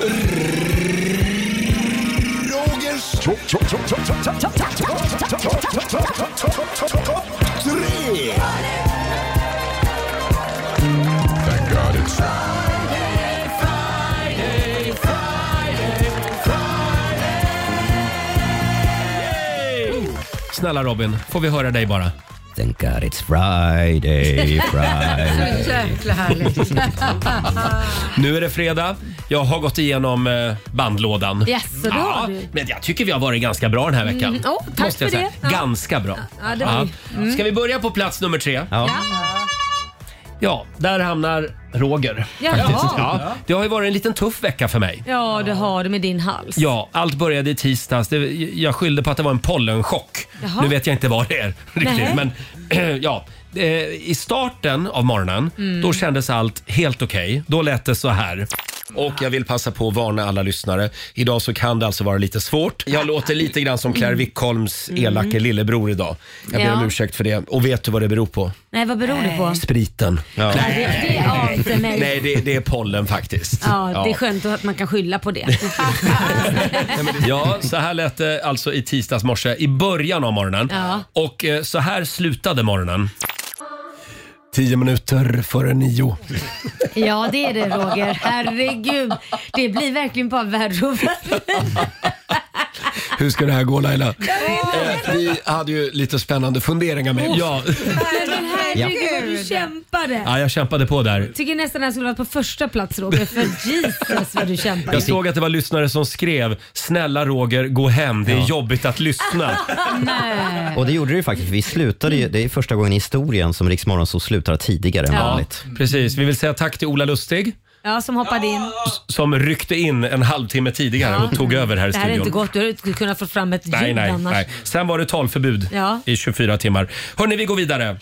är Rogers topp tre. Snälla Robin, får vi höra dig bara? Thank God it's Friday, Friday. Så jäkla härligt. Nu är det fredag. Jag har gått igenom eh, bandlådan. Yes, så då har du. men jag tycker vi har varit ganska bra den här veckan. Mm, åh, tack Måste jag för säga. det. Ja. Ganska bra. Ja, det var det. Mm. Ska vi börja på plats nummer tre? Ja. Ja, där hamnar Roger. Jaha. faktiskt. Ja, det har ju varit en liten tuff vecka för mig. Ja, det har du med din hals. Ja, allt började i tisdags. Det, jag skyllde på att det var en pollenchock. Jaha. Nu vet jag inte vad det är riktigt. Nej. Men ja, eh, i starten av morgonen, Mm. då kändes allt helt okej. Då lät det så här. Och jag vill passa på att varna alla lyssnare. Idag så kan det alltså vara lite svårt. Jag låter lite grann som Claire Wickholms elake Mm. lillebror idag. Jag ber Ja. om ursäkt för det. Och vet du vad det beror på? Nej, vad beror det på? Spriten. Ja. Nej, det, det ante mig. Nej, det, det är pollen faktiskt. Ja, det är skönt att man kan skylla på det. Ja, så här lät det alltså i tisdags morse, i början av morgonen. Ja. Och eh, så här slutade morgonen. Tio minuter före nio. Ja, det är det Roger. Herregud. Det blir verkligen bara värre och värre. Hur ska det här gå Laila? Eh, vi hade ju lite spännande funderingar med. Ja. Nej, Men herregud vad du ja, kämpade. jag kämpade på där. Tycker nästan han skulle varit på första plats Roger, för Jesus vad du kämpade. Jag såg att det var lyssnare som skrev “Snälla Roger, gå hem, det är jobbigt att lyssna”. Nej. Och det gjorde det ju faktiskt. Vi slutade ju, det är första gången i historien som Rix Morgon så slutar tidigare än Ja. vanligt. Precis, vi vill säga tack till Ola Lustig. Ja, som hoppade in. Som ryckte in en halvtimme tidigare och tog över här i Det här är studion. inte gott. Du hade inte kunnat få fram ett ljud Nej, nej, annars. nej. Sen var det talförbud Ja. i 24 timmar. Hörni, vi går vidare.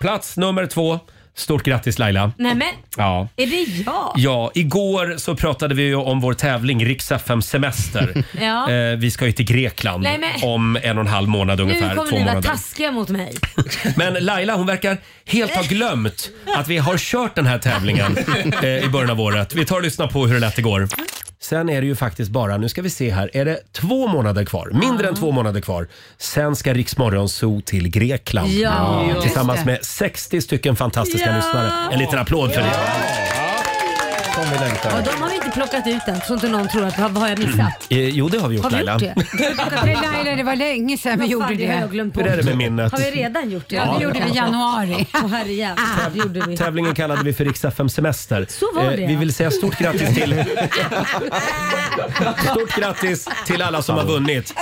Plats nummer två. Stort grattis Laila. Nej men, Ja. är det jag? Ja, igår så pratade vi ju om vår tävling Rix FM Semester. Ja. eh, vi ska ju till Grekland Nej, men- om en och en halv månad ungefär. nu kommer två ni vara månader. taskiga mot mig. Men Laila hon verkar helt ha glömt att vi har kört den här tävlingen eh, i början av året. Vi tar och lyssnar på hur det lät igår. Sen är det ju faktiskt bara, nu ska vi se här, är det två månader kvar? Mindre än två månader kvar. Sen ska Riksmorgon Zoo till Grekland. Ja, just Tillsammans det. med 60 stycken fantastiska Ja. lyssnare. En liten applåd för det. Som vi längtar. Ja, de har vi inte plockat ut än, så inte någon tror att vad har jag missat? Eh, Jo, det har vi gjort Har vi Laila. gjort det? Nej, Laila, det var länge sedan vi Vad fan, gjorde det har jag glömt Hur är det med minnet? Har vi redan gjort det? Ja, det gjorde vi i januari. Åh herrejävlar, det gjorde vi. Tävlingen kallade vi för Rix FM Semester. Så var det, Vi ja. vill säga stort grattis till... Stort grattis till alla som har vunnit.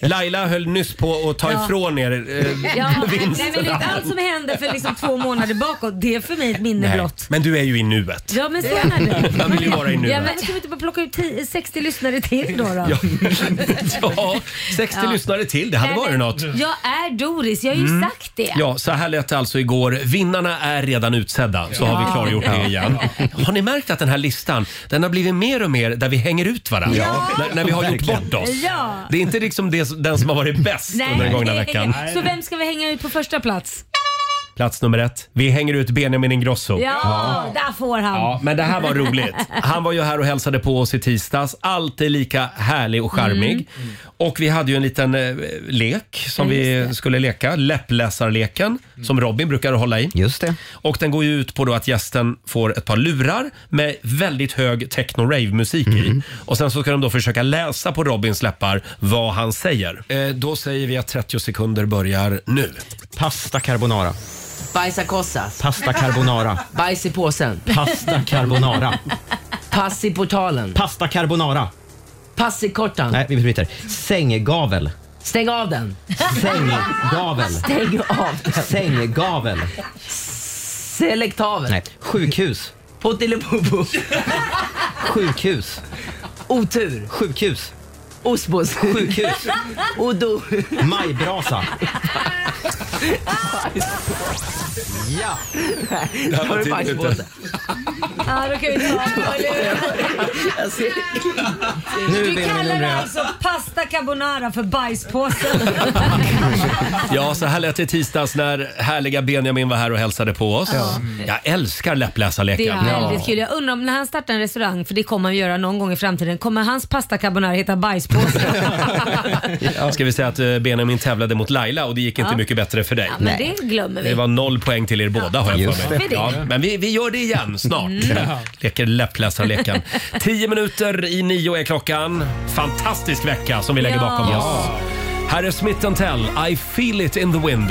Eh, Laila höll nyss på att ta Ja. ifrån er eh, Ja, nej, men det är vinsterna. inte allt som hände för liksom två månader bakåt. Det är för mig ett minne Nej, blott. Men du är ju i nuet. Ja men så är det. Man vill ju vara i nuet. Ja, men ska vi inte bara plocka ut 10, 60 lyssnare till då? då? Ja, ja 60 Ja. lyssnare till, det hade Nej, varit men något. Mm. Jag är Doris, jag har ju sagt det. Ja, så här lät det alltså igår. Vinnarna är redan utsedda, så har vi Ja. klargjort det igen. Har ni märkt att den här listan, den har blivit mer och mer där vi hänger ut varandra? Ja. När, när vi har gjort Verkligen. bort oss. Ja. Det är inte liksom det, den som har varit bäst under den gångna det är- veckan. Så vem ska vi hänga ut på första plats? Plats nummer ett. Vi hänger ut Benjamin Ingrosso. Ja, där får han. Ja, men det här var roligt. Han var ju här och hälsade på oss i tisdags. Alltid lika härlig och charmig. Mm. Och vi hade ju en liten eh, lek som vi skulle leka. Läppläsarleken Mm. som Robin brukar hålla i. Just det. Och den går ju ut på då att gästen får ett par lurar med väldigt hög techno-rave-musik i. Och sen så ska de då försöka läsa på Robins läppar vad han säger. Eh, då säger vi att 30 sekunder börjar nu. Pasta carbonara. Bajsa kossas. Pasta carbonara. Bajs i påsen. Pasta carbonara. Pass i portalen. Pasta carbonara. Pass i kortan. Nej, vi bryter. Sänggavel. Stäng av den. Sänggavel. Stäng av den. Sänggavel. Selektavel. Nej. Sjukhus. Pottilipopo. Sjukhus. Otur. Sjukhus. Osbos. Sjukhus. Odo. Majbrasa. Ja. Det här var tiden ute. bajspåse. Ja, då kan vi ta Jag ser Nu, Du Benjamin, kallar undrar jag- alltså pasta carbonara för bajspåse. Ja, så här lät det i tisdags när härliga Benjamin var här och hälsade på oss. Ja. Jag älskar läppläsarleken. Det är väldigt kul. Jag undrar om när han startar en restaurang, för det kommer han göra någon gång i framtiden, kommer hans pasta carbonara heta bajspåse? Ja. Ska vi säga att eh, Benjamin tävlade mot Laila och det gick inte Ja. mycket bättre för dig. Ja, men det glömmer vi. Det var noll poäng till er båda har jag Just för mig. det. Ja, men vi, vi gör det igen snart. Mm. Leker läppläsarleken. Tio minuter i nio är klockan. Fantastisk vecka som vi lägger Ja. bakom oss. Ja. Här är Smith Tell, I feel it in the wind.